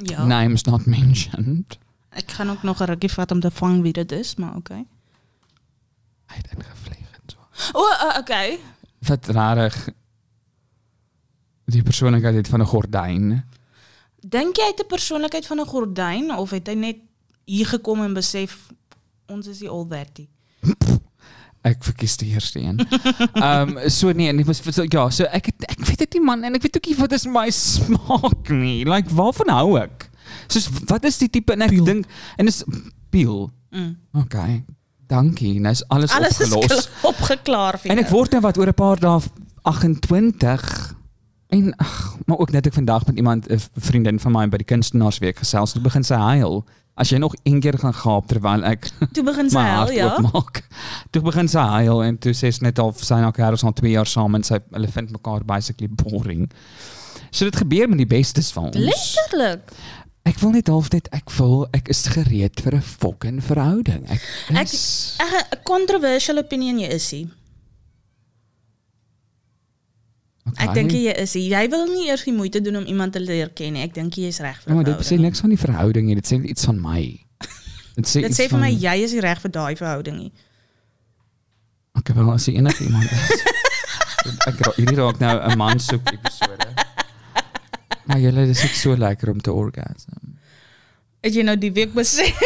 B: Ja.
A: Names not mentioned.
B: Ek gaan ook nog 'n rukkie vat om te vang wie dit is, maar okay.
A: Hy het ingevlieg en so.
B: O, oh, okay.
A: Wat rarig. Die persoonlikheid het van 'n gordyn.
B: Dink jy hy het 'n persoonlikheid van 'n gordyn of het hy net hier gekom en besef ons is die all that? nie?
A: Ek verkies die eerste een. Ehm so nee, en ek was so, ja, so ek het, ek weet dit nie man en ek weet ook nie wat is my smaak nie. Like waarvan hou ek? Soos wat is die tipe en ek
B: Peel.
A: dink en is peel.
B: Mm.
A: Okay. Dankie. Nou is alles,
B: Alles is
A: opgelos.
B: kla- opgeklaar vir
A: en ek
B: jou.
A: word nou wat oor 'n paar dae 28 en ag, maar ook net ek vandag met iemand 'n vriendin van my by die kunstenaarsweek gesels en toe begin sy huil. As jy nog een keer gaan gaap terwyl ek
B: toe begin sy
A: my
B: hel,
A: hart
B: ja.
A: oopmaak. Toe begin sy huil en toe sê sy net al sy en haar kerels al 2 jaar saam en sy hulle vind mekaar basically boring. So dit gebeur met die bestes van ons.
B: Letterlik.
A: Ek wil net half net ek voel ek is gereed vir 'n fucking verhouding. Ek
B: Ek-
A: is, ek,
B: Ag, 'n controversial opinion jy is hy. Ek dink jy is hy. Jy wil nie eers die moeite doen om iemand te leer ken nie. Ek dink jy is reg vir.
A: Ja, maar dit sê
B: verhouding.
A: niks van die verhouding nie, dit sê iets van my. Dit sê
B: Dit
A: iets
B: sê vir
A: van
B: my jy is nie reg vir daai verhouding nie.
A: Ek wel as jy enige iemand is. ek ra- hierdie raak nou 'n man soek episode. Maar julle dis net so lekker om te orgasm.
B: Het jy nou die week besef?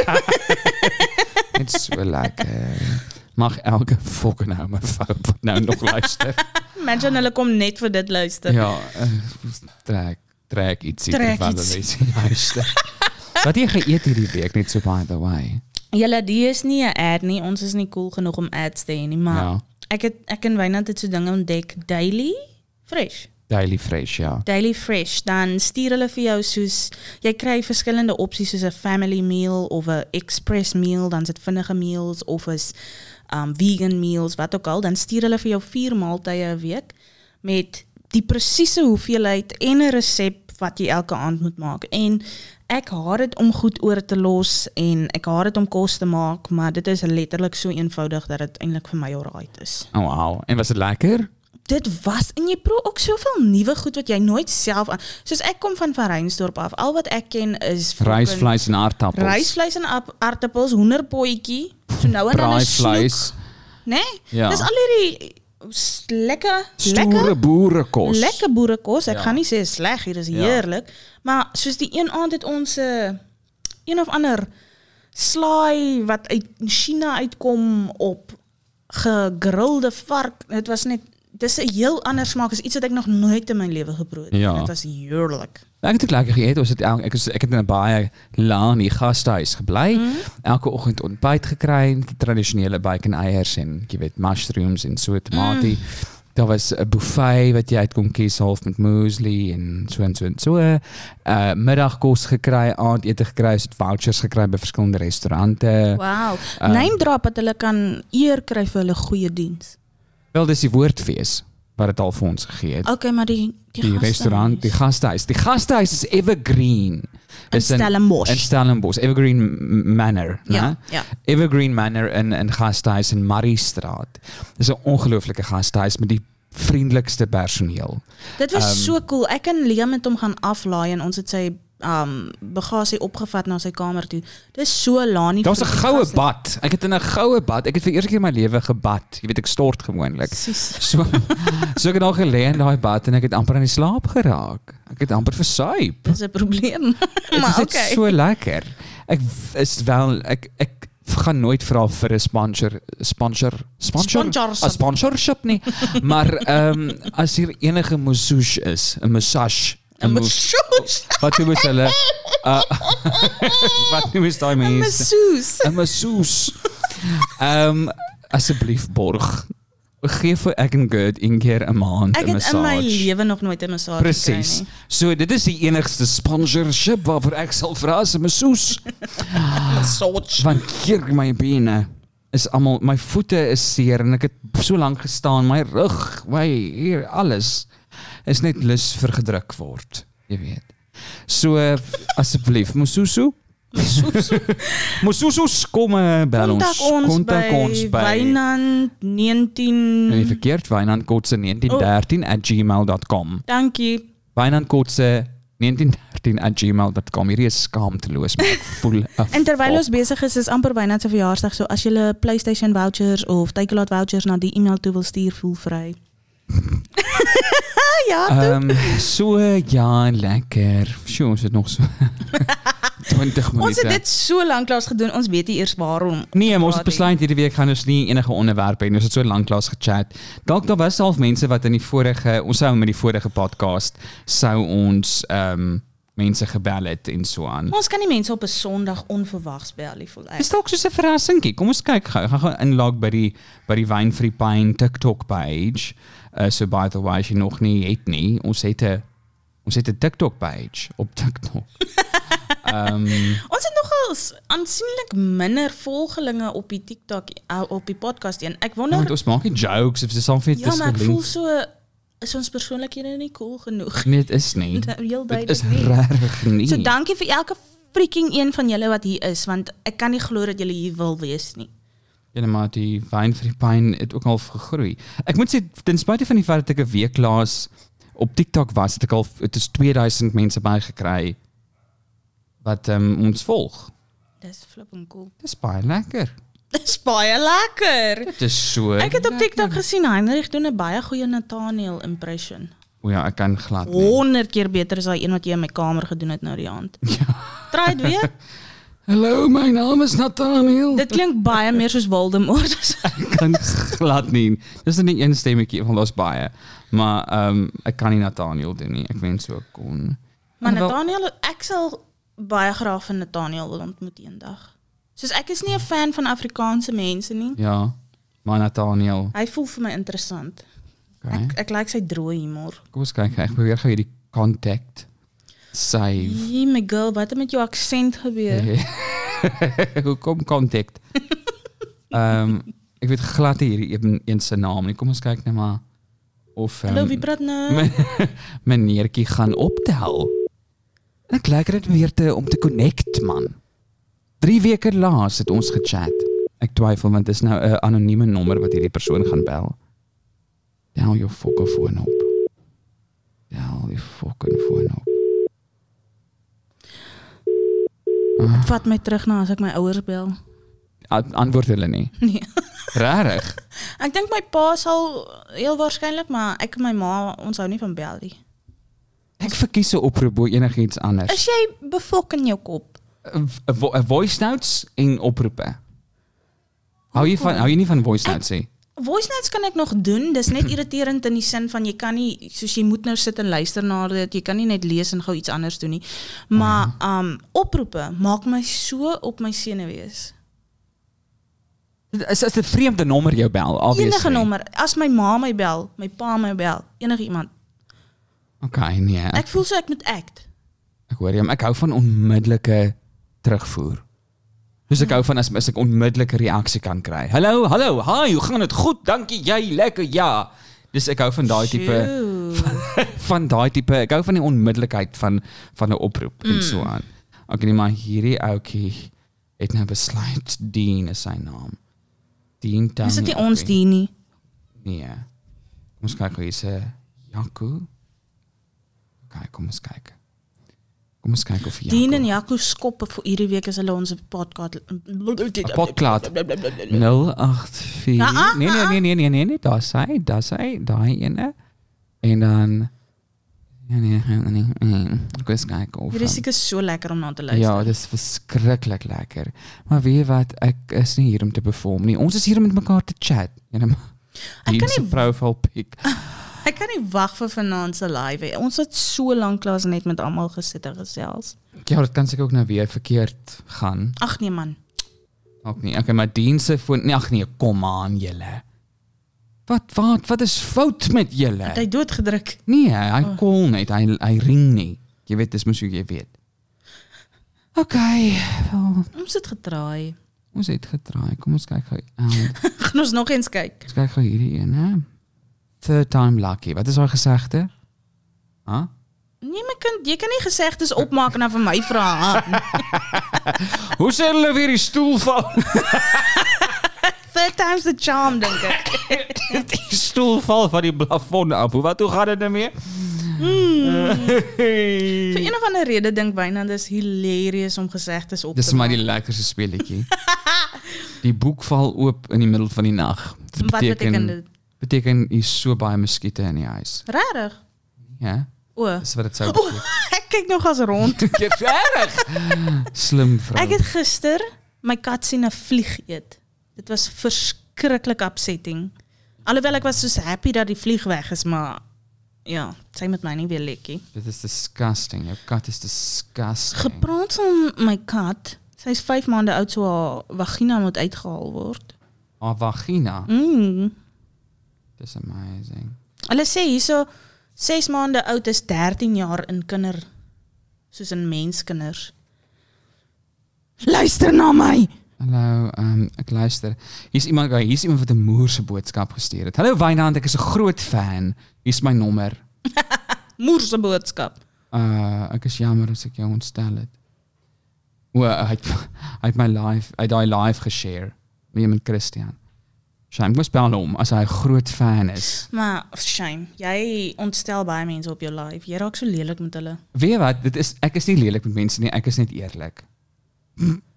A: Net so lekker. Mag elke fucking ou my vrou wat nou nog luister.
B: Imagine hulle kom net vir dit luister.
A: ja, eh, trek trek ietsie
B: Trek
A: terwyl
B: ietsie.
A: hulle sien luister. Wat het jy geëet hierdie week net so by the way?
B: Julle die is nie 'n ad nie. Ons is nie cool genoeg om ads te hê nie, maar
A: Ja.
B: ek het ek en Wynand het so dinge ontdek daily fresh.
A: Daily fresh, ja.
B: Daily fresh. Dan stuur hulle vir jou soos jy kry verskillende opsies soos 'n family meal of 'n express meal, dan sit vinnige meals of is um vegan meals, wat ook al. Dan stuur hulle vir jou vier maaltye 'n week met die presiese hoeveelheid en 'n resep wat jy elke aand moet maak. En ek haat dit om goed oor te los en ek haat dit om kos te maak, maar dit is letterlik so eenvoudig dat dit eintlik vir my alright is.
A: Oh, wow. En was dit lekker?
B: dit was en jy proe ook soveel nuwe goed wat jy nooit self aan. Soos ek kom van Verreinsdorp af. Al wat ek ken is
A: Rys, vleis en aardappels.
B: rysvleis en aap- aardappels, hoenderpotjie. So nou en dan 'n
A: Braaivleis.
B: snoek, né? Nee?
A: Ja.
B: Dis al hierdie s- lekker
A: Stoere
B: lekker
A: boerekos.
B: lekker boerekos. Ek
A: Ja.
B: gaan nie sê is sleg, hier is heerlik, maar soos die een aand het ons 'n een of ander slaai wat uit China uitkom op gegrilde vark. Dit was net dis 'n heel ander smaak as iets wat ek nog nooit in my lewe geproe het.
A: Ja.
B: Dit was heerlijk.
A: Ek het ook lekker geëet. Ons het elke, ek is ek het in 'n baie laanie gastehuis gebly. Elke oggend ontbyt gekry, die tradisionele bacon eiers en jy weet mushrooms en so tomatie. Daar was 'n buffet wat jy uit kon kies half met muesli en so en so en so. Uh middagkos gekry, aandete gekry, ons het vouchers gekry by verskillende restaurante.
B: Wow.
A: Ehm,
B: Name drop dat hulle kan eer kry vir hulle goeie diens.
A: Wel dis die woordfees wat dit al vir ons gegee het.
B: Okay, maar die die,
A: Oh, die
B: gastehuis.
A: restaurant, die gastehuis. Die gastehuis is Evergreen. Dis
B: Stellenbosch.
A: In Stellenbosch, Evergreen M- Manor,
B: Ja,
A: né?
B: ja.
A: Evergreen Manor in in gastehuis in Mariestraat. Dis 'n ongelooflike gastehuis met die vriendelikste personeel.
B: Dit was
A: Ehm,
B: so cool. Ek en Liam het hom gaan aflaai en ons het sy um bagasie opgevat na sy kamer toe. Dis so laanie.
A: Daar was 'n
B: vir die
A: goue
B: gaste.
A: bad. Ek het in 'n goue bad. Ek het vir eers keer in my lewe gebad. Jy weet ek stort gewoonlik.
B: Sies.
A: So so ek het daar gelê in daai bad en ek het amper aan die slaap geraak. Ek het amper versuip.
B: Dis 'n probleem. maar
A: dit is
B: okay.
A: net so lekker. Ek w- is wel ek ek gaan nooit vra vir 'n sponsor sponsor sponsor
B: Sponsorship.
A: 'n sponsorship nie. maar ehm as hier enige massage is, 'n massage 'n
B: En
A: mous-
B: masseuse.
A: Wat noem ons hulle? Uh, wat noem ons daai mense?
B: Masseuse.
A: 'n Masseuse. Ehm asseblief borg. Gee vir ek en Gert een keer 'n maand 'n
B: Ek het
A: massage.
B: in my lewe nog nooit 'n massage gekry nie.
A: Presies. So dit is die enigste sponsorship waarvoor ek sal vra as 'n masseuse.
B: Massage.
A: want keer my bene is almal my voete is seer en ek het so lank gestaan, my rug, my hier alles is net lus vir gedruk word, jy weet. So eh, asseblief, Mususu,
B: Masseuse.
A: Mususu kom eh, bel ons.
B: Kontak ons,
A: Kontak ons by
B: Wynand
A: Nee,
B: 19.
A: verkeerd, wynandkotse1913@gmail.com.
B: Dankie.
A: Wynandkotse1913@gmail.com. Hierdie is skaamteloos, maar ek voel 'n
B: En terwyl
A: fop.
B: ons besig is, is amper byna se verjaarsdag, so as jy PlayStation vouchers of Takealot vouchers na die e-mail toe wil stuur, voel vry. ja, toe.
A: Ehm so ja, lekker. Sjoe, ons het nog so 20 minute.
B: ons het dit so lank lank gedoen, ons weet nie eers waarom.
A: Nee, maar ons het
B: Praat nie.
A: besluit hierdie week gaan ons nie enige onderwerp hê nie. Ons het so lank lank gechat. Dalk daar was half mense wat in die vorige ons sou met die vorige podcast sou ons ehm mense gebel het en so aan.
B: Ons kan nie mense op 'n Sondag onverwags bel nie, voel ek.
A: Dis dalk soos 'n verrassingkie. Kom ons kyk gou. Ek Gaan gaan inlog by die by die Wine Free Pine TikTok page. Uh, so by the way, as jy nog nie het nie, ons het 'n ons het 'n TikTok page op TikTok. Ehm
B: Ons het nogal s- aansienlik minder volgelinge op die TikTok eh, op die podcast een. Ek
A: Ja, want
B: wonder
A: ons maak nie jokes of dis al vir
B: ja,
A: dis
B: maar ek voel
A: gelinks.
B: so is ons persoonlikhede nie cool genoeg.
A: Nee, dit is nie.
B: Heel
A: Dit is
B: duidelik nie.
A: regtig nie.
B: So dankie vir elke freaking een van julle wat hier is want ek kan nie glo dat julle hier wil wees nie.
A: Ja, maar die wyn vir die pyn het ook al gegroei. Ek moet sê ten spyte van die feit dat ek 'n week laas op TikTok was, het ek al dit is 2000 mense bygekry wat um, ons volg.
B: Dis flipping cool.
A: Dis baie lekker.
B: Dis baie lekker.
A: Dit is so.
B: Ek het op TikTok gesien Heinrich doen 'n baie goeie Nathaniel impression.
A: O ja, ek kan glad nie.
B: 100 keer beter as daai een wat jy in my kamer gedoen het nou die aand. Try dit weer.
A: Hallo, my naam is Nathaniel.
B: Dit klink baie meer soos Voldemort.
A: Ek kan glad nie. Dis net een stemmetjie want daar's baie. Maar ehm um, ek kan nie Nathaniel doen nie. Ek wens so ek kon.
B: maar
A: Wel-
B: Nathaniel, ek sal baie graag van Nathaniel wil ontmoet eendag. Soos ek is nie 'n fan van Afrikaanse mense nie.
A: Ja. Maar Nathaniel.
B: Hy voel vir my interessant.
A: Okay.
B: Ek ek like sy droë humor.
A: Kom eens kijken, ik probeer gou hierdie contact save.
B: Jee, my girl, wat het met jou aksent gebeur?
A: Hoe kom contact? Ehm ek weet glad nie hierdie een, een se naam nie. Kom ons kyk net maar of
B: Hallo,
A: ehm,
B: wie praat nou?
A: meneertjie gaan optel. Ek lekker dit weer te om te connect man. 3 weke laas het ons gechat. Ek twyfel want dit is nou 'n anonieme nommer wat hierdie persoon gaan bel. Tel jou fokker foon op. Tel die fucking foon op.
B: Dit vat my terug na as ek my ouers bel.
A: An- Antwoord hulle nie.
B: Nee.
A: Regtig?
B: Ek dink my pa sal heel waarskynlik, maar ek en my ma, ons hou nie van bel nie.
A: Ek verkies 'n oproep bo enigiets anders.
B: Is jy befok in jou kop?
A: 'n vo- 'n Voice notes en oproepe. Hou jy van hou jy nie van voice notes nie?
B: Voice notes kan ek nog doen, dis net irriterend in die sin van jy kan nie soos jy moet nou sit en luister na dit, jy kan nie net lees en gou iets anders doen nie. Maar
A: Mhm.
B: um oproepe maak my so op my senuwees.
A: Dit Is as 'n vreemde nommer jou bel, obviously.
B: Enige nommer, as my ma my bel, my pa my bel, enige iemand.
A: Okay, nee. Ek,
B: Ek voel so ek moet act.
A: ek hoor jou, maar ek hou van onmiddellike terugvoer. Dus
B: Ja.
A: ek hou van as, as ek onmiddellike reaksie kan kry. Hallo, hallo, hi, hoe gaan dit? Goed, dankie. Jy lekker? Ja. Dis ek hou van daai tipe
B: Sjoe.
A: van daai tipe. Ek hou van die onmiddellikheid van van 'n oproep mm. en so aan. Okay, nee, maar hierdie ouetjie het nou besluit Dean is sy naam. Dean Town.
B: Is dit nie ons die nie?
A: Nee. Kom ons kyk hoe is 'n Janko. Kyk, kom ons kyk. Kom ons kyk of
B: Dien en
A: Janko.
B: Jaco skoppe vir hierdie week as hulle ons Nou, podcast
A: 'n Potklaat 084.
B: Ah, ah,
A: Nee nee nee nee nee nee, nee daar sy, daar sy, daai ene. um, En dan Ja nee, nee, nee, nee. Kom eens kyk of
B: Hierdie is seker so lekker om na te luister.
A: Ja, dit is verskriklik lekker. Maar weet jy wat, ek is nie hier om te perform nie. Ons is hier om met mekaar te chat. En dan
B: Ek kan
A: Dean se
B: nie- Ah.
A: profile pic.
B: Ek kan nie wag vir vanaand se live. hè. Ons het so lank klaas net met almal gesit en gesels.
A: Ja, dit kan seker ook nou weer verkeerd gaan.
B: Ag nee man.
A: Ook nie. Okay, maar dienste foon. Nee, ag nee, kom aan julle. Wat wat wat is fout met
B: Het hy Oh.
A: julle?
B: doodgedruk.
A: Nee, hy call net, hy hy ring nie. Jy weet dis mos hoe jy weet. Okay, wel,
B: Ons het getraai.
A: ons het getraai. Kom ons kyk gou. Um,
B: Gaan ons nog eens kyk.
A: Ons kyk gou hierdie een, hè. Third time lucky. Wat is haar gesegde? Ha?
B: Nee my kind, jy kan nie gesegdes opmaak en dan vir my vra. ha?
A: Hoe sê hulle weer die stoel val?
B: Third time's the charm dink ek.
A: die stoel val van die plafon af. Hoe wat hoe gaan dit nou weer?
B: Hmm. Vir een of ander rede dink Wynand is hilarious om gesegdes op te
A: Dis vir my die lekkerste speletjie. die boek val oop in die middel van die nag. Dit
B: Wat beteken dit?
A: Beteken hier's so baie muskiete in die huis.
B: Regtig?
A: Ja,
B: O.
A: dis wat dit sou
B: O,
A: beteken.
B: Ek kyk nog as rond.
A: Jy's reg. Slim vrou.
B: Ek het gister my kat sien 'n vlieg eet. Dit was verskriklik upsetting. Alhoewel ek was so happy dat die vlieg weg is, maar ja, sy met my nie weer lekkie.
A: Dit is disgusting. Jou kat is disgusting.
B: Gepraat van my kat. Sy's 5 maande oud so haar vagina moet uitgehaal word.
A: Haar Ah, vagina.
B: Mm.
A: Dis amazing.
B: Hulle sê hierso 6 maande oud is 13 jaar in kinder soos in menskinders. Luister na my.
A: Hallo, ehm ek luister. Hier's iemand, okay, hier's iemand wat 'n moerse boodskap gestuur het. Hallo Wynand, ek is 'n groot fan. Hier's my nommer.
B: Moerse boodskap.
A: Uh ek is jammer as ek jou ontstel het. O, hy het, hy het my live, hy het daai live geshare met iemand Christian. Sy moet bel hom as hy 'n groot fan is.
B: Maar shame, jy ontstel baie mense op jou live. Jy raak so lelik met hulle.
A: Weet jy wat, dit is ek is nie lelik met mense nie, ek is net eerlik.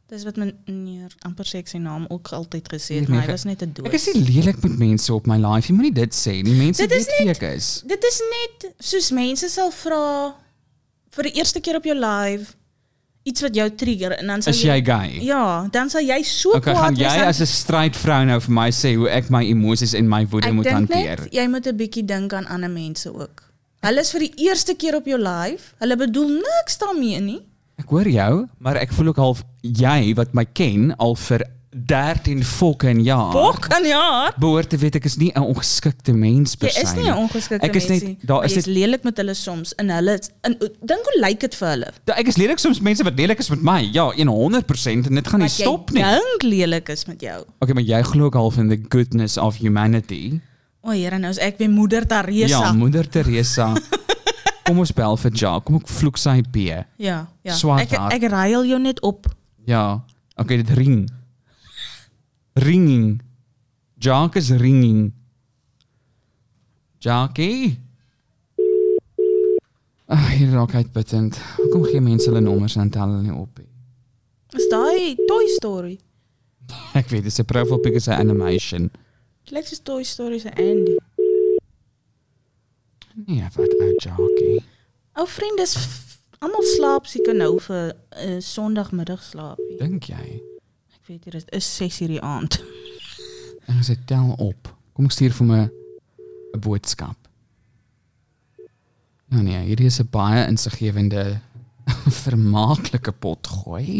B: Dis wat meneer amper sê ek sy naam ook altyd gesê
A: Nee,
B: het, maar
A: nee,
B: hy was net 'n dood.
A: Ek is nie lelik met mense op my live. Jy moenie dit sê nie. Mense
B: Dit is
A: weet wie ek is.
B: Dit is net soos mense sal vra vir die eerste keer op jou live iets wat jou trigger en dan sal
A: Is jy gay?
B: Ja, dan sal jy so
A: Okay, gaan
B: kwaad
A: jy
B: dan-
A: as 'n strydvrou nou vir my sê hoe ek my emosies en my woede
B: Ek
A: moet
B: dink
A: hanteer?
B: net jy moet 'n bietjie dink aan ander mense ook. Hulle is vir die eerste keer op jou live. Hulle bedoel niks daarmee nie.
A: Ek hoor jou, maar ek voel ook half jy wat my ken al vir 13 fucking jaar.
B: Fok aan jaar.
A: Behoort te weet ek is nie 'n ongeskikte mens
B: Jy
A: persoon.
B: is nie 'n ongeskikte
A: Ek is net-
B: mensie.
A: daar
B: maar
A: is
B: jy lelik met hulle soms en hulle en dink hoe lyk dit vir hulle?
A: Da- Ek is lelik soms mense wat lelik is met my. Ja, 100% en dit gaan nie
B: Dat
A: stop nie.
B: Jy dink lelik is met jou.
A: Okay, maar jy glo ook half in the goodness of humanity.
B: O, Here, nou is ek weer moeder Teresa.
A: Ja, moeder Teresa. Kom ons bel vir Ja. Kom ek vloek sy B.
B: Ja, ja.
A: Swart
B: ek
A: hart.
B: ek ruil jou net op.
A: Ja. Okay, dit ring. Ringing. Jacques is ringing. Jackie. Ag, Ah, hier raak uitputtend. Hoekom gee mense hulle nommers en tel hulle nie op nie?
B: Is daai Toy Story?
A: Ek weet dis 'n profile pic is 'n animation.
B: Dit is Toy Story se Andy.
A: Nee, wat eh, ou Jackie.
B: Ou vriend, dis f- almal slaap seker nou vir 'n uh, Sondagmiddag slaapie.
A: Dink jy?
B: Ek weet hier is, is 6:00 die aand.
A: En sy tel op. Kom ek stuur vir my 'n boodskap. Nou nee, hierdie is 'n baie insiggewende vermaaklike potgooi.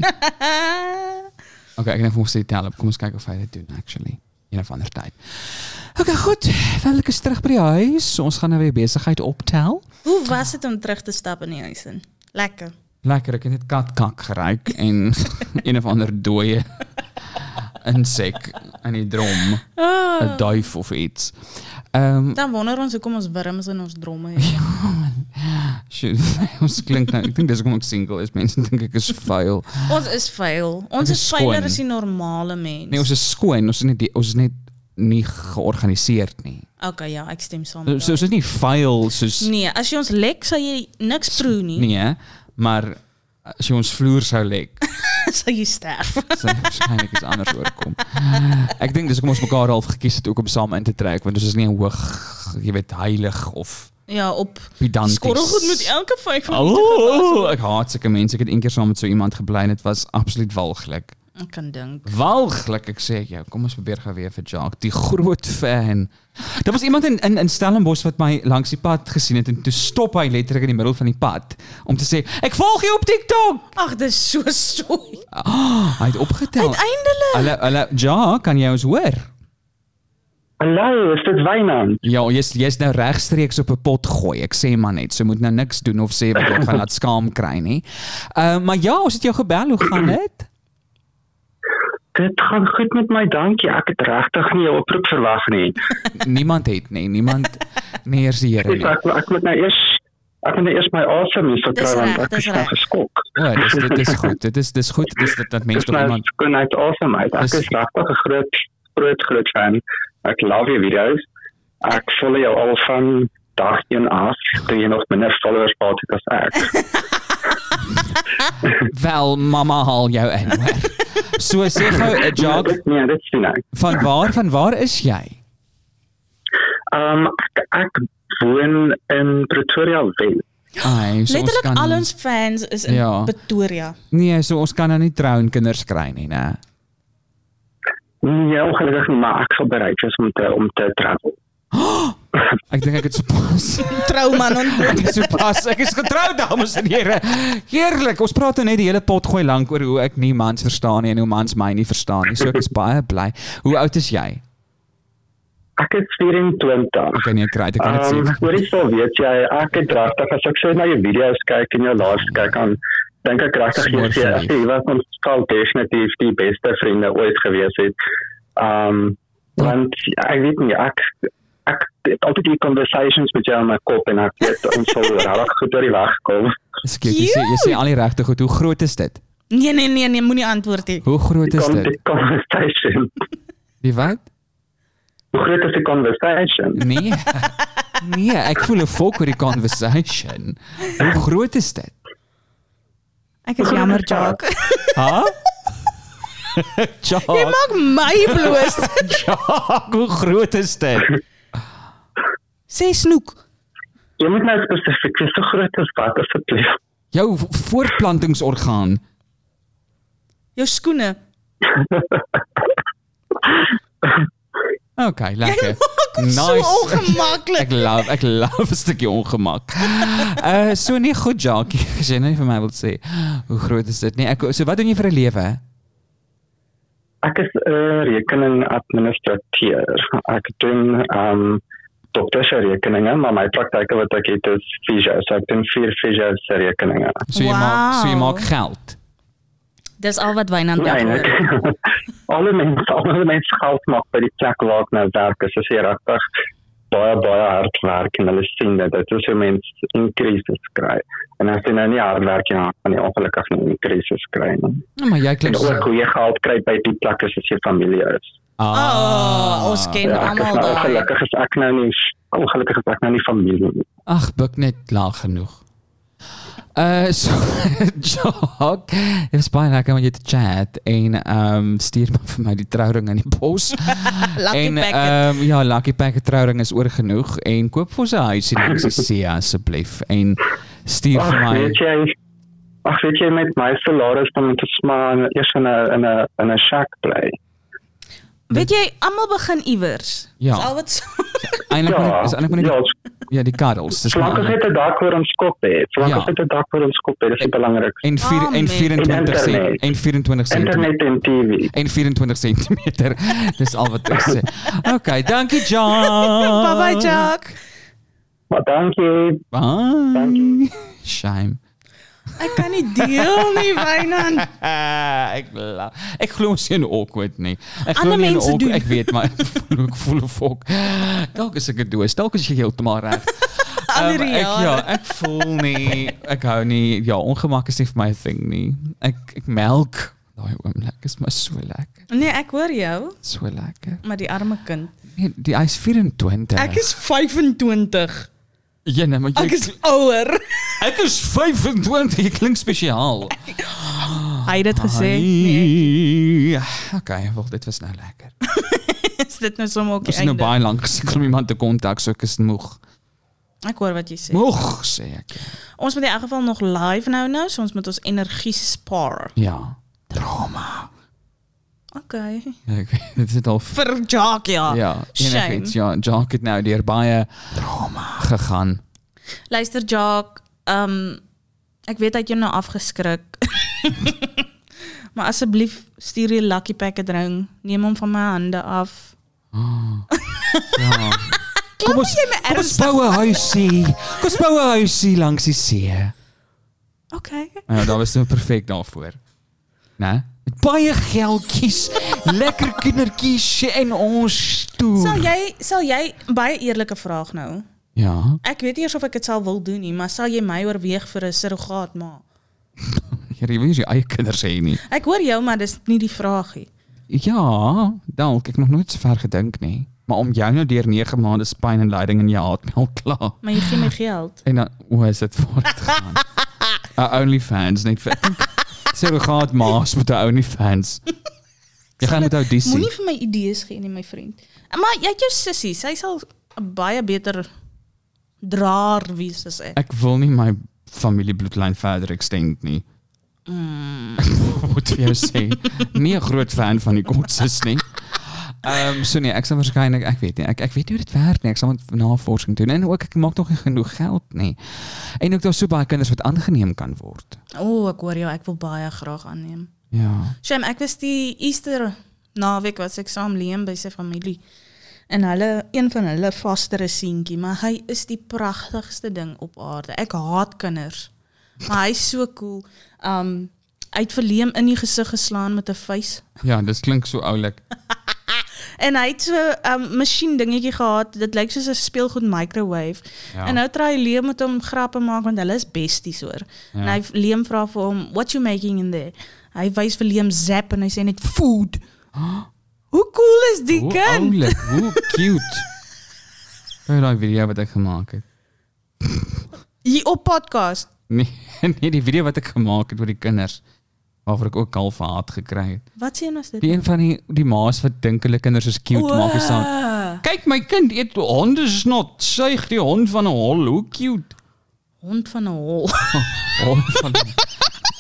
A: Okay, ek gaan vir ons dit tel op. Kom ons kyk of hy dit doen actually. Een of ander tyd. Okay, goed. Welke is terug by die huis. Ons gaan nou weer besigheid optel.
B: Hoe was dit om terug te stap in die huis in? Lekker.
A: Lekker, ek het net katkak geruik en een of ander dooie insek aan die drom,
B: Oh.
A: 'n duif of iets. Ehm
B: Dan wonder ons hoekom ons wurms in ons dromme het.
A: shoot, ons klink nou. Ek dink dis hoekom ek single is. Mense dink ek is vuil.
B: Ons is vuil. Ons
A: Dit
B: is
A: is
B: vuiler
A: skoon.
B: as die normale mens.
A: Nee, ons is skoon. Ons is net die- ons is net nie georganiseerd nie.
B: Okay, ja, ek stem saam.
A: So
B: met
A: so is nie vuil soos
B: jou. nee, as jy ons lek, sal jy niks proe nie.
A: Nee, maar as jy ons vloer sou lek,
B: sal jy sterf.
A: sou waarskynlik iets anders oorkom. Ek dink dis hoekom ons mekaar half gekies het ook om saam in te trek, want ons is nie hoog, jy weet, heilig of
B: Ja, op
A: pedanties.
B: skorrelgoed moet elke vyf
A: Oh,
B: minute
A: ek haat sulke mense. Ek het eendag saam met so iemand gebly en dit was absoluut walglik.
B: gewas. Ek kan dink.
A: Walglik, ek sê jou. Kom ons probeer gou weer vir Jacques, die groot fan. Daar was iemand in in in Stellenbosch wat my langs die pad gesien het en toe stop hy letterlik in die middel van die pad om te sê, "Ek volg jou op TikTok."
B: Ag, dis so stoei.
A: Ah, hy het opgetel.
B: Uiteindelik.
A: Hallo, hallo, ja, kan jy ons hoor?
D: Hallo, is dit Wynand?
A: Ja, jy's jy's nou regstreeks op 'n pot gooi. Ek sê maar net, so moet nou niks doen of sê wat jy gaan laat skaam kry nie. Ehm uh, maar ja, ons het jou gebel. Hoe gaan dit?
D: Dit gaan goed met my, dankie. Ek het regtig nie 'n oproep verwag nie.
A: Niemand het nie, niemand nie eers die Here
D: Ek
A: nie.
D: ek, ek moet nou eers ek moet nou eers my asem hier verkry
B: Dis
D: want
B: reg,
D: ek
B: dis
D: is nou
B: reg.
D: geskok.
A: O, Ja, dis dit is goed. Dit is dis goed. Dis dat, dat mense
D: Dis
A: tog
D: nou
A: iemand
D: skoon uit asem uit. Ek
A: Dis-
D: is regtig 'n groot groot groot fan. Ek love jou video's. Ek volg jou al van dag 1 af, toe jy nog minder followers gehad het as ek.
A: wel mamma haal jou in. Hoor. So sê
B: Oh,
A: gou
B: eh,
A: 'n jog
D: Dit- Nee, dit sien ek.
A: van waar van waar is jy?
D: Ehm ek, ek woon in Pretoria West.
A: Ai, so ons
B: Letterlik
A: kan
B: al ons fans is in
A: Ja.
B: Pretoria.
A: Nee, so ons kan nou nie trou en kinders kry nie, né?
D: Nee, ongelukkig nie, maar ek sal bereid wees om te om te travel.
A: Ek dink ek het sopas
B: Trouman
A: Ek
B: ontmoet.
A: is so pas. Ek is getroud dames en here. Heerlik. Ons praat nou net die hele pot gooi lank oor hoe ek nie mans verstaan nie en hoe mans my nie verstaan nie. So ek is baie bly. Hoe oud is jy?
D: Ek is 24.
A: Okay nee, kry. Ek kan dit
D: Ehm,
A: sê.
D: hoor jy sou weet jy ek het regtig as ek so na jou video's kyk en jou laas kyk aan dink ek regtig jy
A: Smoor
D: sê
A: verlief.
D: jy was ons sal definitief die beste vriende ooit gewees het. Ehm um,
A: Ja.
D: want ek weet nie ek ek het altyd die conversations met jou in my kop en ek weet ons sal regtig goed oor die weg kom.
A: Skiet, jy sê jy sê al die regte goed. Hoe groot is dit?
B: Nee nee nee nee, moenie antwoord hê.
A: Hoe groot is
D: Kom
A: dit?
D: die conversation.
A: Die wat?
D: Hoe groot is die conversation?
A: Nee. Nee, ek voel 'n fok oor die conversation. Hoe groot is dit?
B: Ek is jammer, Jock.
A: Ha? Ja.
B: Jy maak my bloos.
A: Ja, hoe groot is dit?
B: Sê snoek.
D: Jy moet nou spesifiek wees so groot as wat asseblief.
A: Jou voortplantingsorgaan.
B: Jou skoene.
A: Okay,
B: Jy
A: lekker.
B: maak hom so
A: Ek
B: ongemaklik.
A: love, ek love 'n stukkie ongemak. Uh so nie goed Jackie, as jy net vir my wil sê. Hoe groot is dit? Nee, ek so wat doen jy vir 'n lewe?
D: Ek is 'n rekening administrateur. Ek doen ehm um, dokter se rekeninge, maar my praktyke wat ek het is fisio. So ek doen vier fisio se rekeninge.
A: So jy maak so jy
B: Wow.
A: maak geld.
B: Dis al wat Wynand
D: Ja,
B: dag
D: en ek
B: hoor.
D: alle mense, alle mense geld maak by die plek waar ek nou werk. Is as jy regtig baie baie hard werk en hulle sien dat dit is hoe mense increases kry. En as jy nou nie hard werk nie, dan gaan jy ongelukkig nie increases kry nie.
A: Ja, Nou, maar jy klink
D: En ook hoe jy geld kry by die plek as jy familie is.
B: Ah, ons ken
D: Ja, ek is
B: almal
D: nou
B: daai.
D: ongelukkig is ek nou nie ongelukkig is ek nou nie familie nie.
A: Ag, buik net laag genoeg. Uh so Jock, dit was baie lekker om jou te chat en ehm um, stuur maar vir my die trouring in die pos.
B: Lucky
A: en
B: packet.
A: ehm um, ja, Lucky Packet trouring is oor genoeg en koop vir ons 'n huis in Xisia asseblief en stuur
D: Ag,
A: vir my
D: weet jy Ag, weet jy met my salaris dan moet ons maar eers in 'n in 'n in 'n shack bly.
B: Weet jy, almal begin iewers.
A: Ja.
B: Dis al wat so-
A: eintlik moet
D: Ja,
A: ek- is eintlik moet
D: ja,
A: ek ja, die cuddles. Dis
D: solank as
A: maar
D: dit 'n dak oor ons kop het, solank
A: Ja.
D: as dit 'n dak oor ons kop het, is dit belangrik.
A: en vier, en
B: Oh, man.
A: 24 sent
D: Internet.
A: en 24 sent
D: Internet en TV.
A: en 24 cm. Dis al wat ek sê. Okay, dankie John.
B: Bye bye Jack.
D: Maar dankie.
A: Bye.
D: Dankie.
A: Shame.
B: Ek kan nie deel nie, Wynand.
A: Ah, ek la. Ek glo ons in awkward nee. nie. Ek
B: Ander
A: glo nie in
B: mense
A: awkward.
B: doen.
A: Ek weet maar ek voel ek voel of ek. Dalk is ek 'n doos. Dalk is jy heeltemal reg.
B: Ander
A: Ehm, ek
B: jare.
A: ja, ek voel nie ek hou nie. Ja, ongemak is nie vir my thing nie. Ek ek melk daai oomblik is maar so lekker.
B: Nee, ek hoor jou,
A: So lekker.
B: maar die arme kind.
A: Nee, die hy's 24.
B: Ek is 25.
A: ja, nee, maar jy,
B: Ek is ouer.
A: ek is 25. Jy klink spesiaal. Ah,
B: Hy het dit gesê. Nee,
A: Nee. Okay, wel dit was nou lekker.
B: is dit nou sommer ook
A: Ons
B: die
A: het nou
B: einde?
A: baie lank gesukkel om iemand te kontak, so ek is moeg.
B: Ek hoor wat jy sê.
A: Moeg sê ek.
B: Ons moet in elk geval nog live nou nou, so ons moet ons energie spaar.
A: Ja. Drama.
B: Okay.
A: Ja, Ek weet dit is al f-
B: Vir Jock ja.
A: ja,
B: Ah, shame.
A: enigiets. Ja, Jock het nou deur baie drama gegaan.
B: Luister Jock, ehm ek weet dat jy nou afgeskrik. maar asseblief stuur die lucky packet ring. Neem hom van my hande af.
A: Ja. Kom ons
B: jy my
A: kom ons
B: ernstig
A: bou 'n huisie. Kom ons bou 'n huisie langs die see.
B: Okay.
A: Ja, daar was nou perfek daarvoor. Né? Met baie geldjies, lekker kindertjies en ons
B: Sal
A: toe.
B: jy sal jy baie eerlike vraag nou.
A: Ja.
B: Ek weet nie eers of ek dit sal wil doen nie, maar sal jy my oorweeg vir 'n surrogaat ma?
A: Jy wil nie jou eie kinders hê nie.
B: Ek hoor jou, maar dis nie die vraagie.
A: Ja, dalk ek nog nooit so ver gedink nie. Maar om jou nou deur 9 maande pyn en lyding in jou hart meld klaar.
B: Maar jy gee my geld.
A: En dan hoe is dit voortgegaan? 'n OnlyFans net vir So gaan maas met 'n OnlyFans. Jy gaan met audisie.
B: Moenie vir my idees gee nie, my vriend. Maar jy het jou sussie, sy sal 'n baie beter draer wees as ek.
A: Ek wil nie my familiebloedlyn verder extend nie. Mm. Moet vir jou sê, nie 'n groot fan van die kotses nie. Ehm um, so nee, ek sal waarskynlik, ek weet nie, ek ek weet nie hoe dit werk nie. Ek sal moet navorsing doen en ook ek maak nog nie genoeg geld nie. En ook daar so baie kinders wat aangeneem kan word.
B: O, oh, ek hoor jou, ek wil baie graag aanneem.
A: Ja.
B: Shame, ek was die Easter naweek was ek saam Liam by sy familie. En hulle, een van hulle vastere seentjie, maar hy is die pragtigste ding op aarde. Ek haat kinders. Maar hy's so cool. Um hy het vir Liam in die gesig geslaan met 'n vuis.
A: Ja, dit klink so oulik.
B: En hy het so 'n um, masjien dingetjie gehad. Dit lyk soos 'n speelgoed microwave.
A: Ja.
B: En nou try Liam met hom grappe maak want hulle is besties hoor. En hy Liam vra vir hom, "What you making in there?" Hy wys vir Liam zap en hy sê net food. Hoe cool is die
A: Hoe
B: kind?
A: oulik, hoe cute. Hoe daai video wat ek gemaak het.
B: Hier op podcast.
A: Nee, nee, die video wat ek gemaak het oor die kinders waarvoor ek ook half haat gekry het.
B: Wat sien ons dit?
A: Die een van die die ma's wat dink hulle kinders is cute
B: Oeh.
A: maak is dan. Kyk my kind eet hondesnot, suig die hond van 'n hol, hoe cute.
B: Hond van 'n hol.
A: Hond van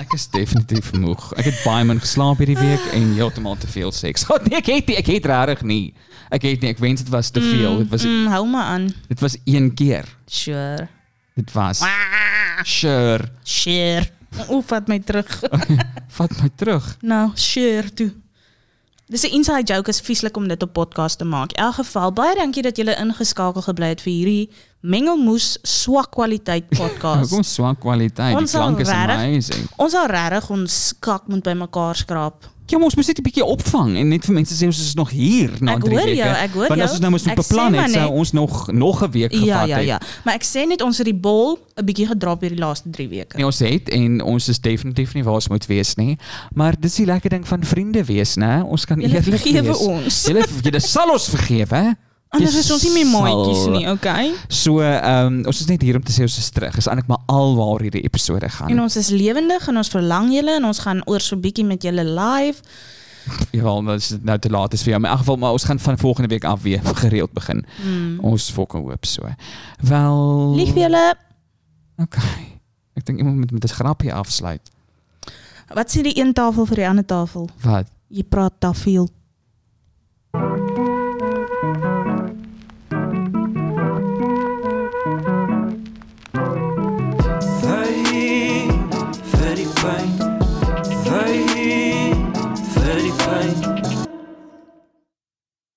A: Ek is definitief moeg. Ek het baie min geslaap hierdie week en heeltemal te veel seks. God, nee, ek het nie, ek het regtig nie. Ek het nie, ek wens dit was te veel. Dit was
B: Mm, hou maar aan.
A: dit was een keer.
B: Sure.
A: Dit was sure.
B: Sure. Oef, vat my terug.
A: Vat my terug.
B: Nou, share toe. Dis 'n inside joke is vieslik om dit op podcast te maak. In elk geval, baie dankie dat julle ingeskakel gebly het vir hierdie mengelmoes swak kwaliteit podcast.
A: Hoekom swak kwaliteit? Die
B: Ons sal
A: klank is
B: regtig-
A: amazing.
B: Ons al regtig ons kak moet bymekaar skraap.
A: Ja, maar ons moet net 'n bietjie opvang en net vir mense sê ons is nog hier na
B: Ek
A: 3
B: hoor
A: weke.
B: jou, ek hoor
A: Want as
B: jou.
A: ons nou moes
B: Ek sê
A: beplan
B: maar
A: het, sou
B: net-
A: ons nog nog 'n week gevat
B: Ja, ja,
A: het.
B: ja. Maar ek sê net ons het die bol 'n bietjie gedrap hierdie laaste 3 weke.
A: Nee, ons het en ons is definitief nie waar ons moet wees nie. Maar dis die lekker ding van vriende wees, né? Ons kan
B: Julle
A: eerlik
B: vergewe
A: wees.
B: ons.
A: Julle julle sal ons vergewe.
B: Anders is ons nie meer maatjies
A: Sal.
B: nie, okay?
A: So, ehm um, ons is net hier om te sê ons is terug. Is eintlik maar alwaar hierdie episode gaan.
B: En ons is lewendig en ons verlang julle en ons gaan oor so bietjie met julle live.
A: Ja, wel, dit is dit nou te laat is vir jou. Maar in elk geval, maar ons gaan van volgende week af weer gereeld begin.
B: Mm.
A: Ons fucking hoop so. Wel.
B: Lief vir julle.
A: Okay. Ek dink iemand moet met 'n grapjie afsluit.
B: Wat sê die een tafel vir die ander tafel?
A: Wat?
B: Jy praat tafel.
C: Vai vir die pyn. Vai vir die pyn.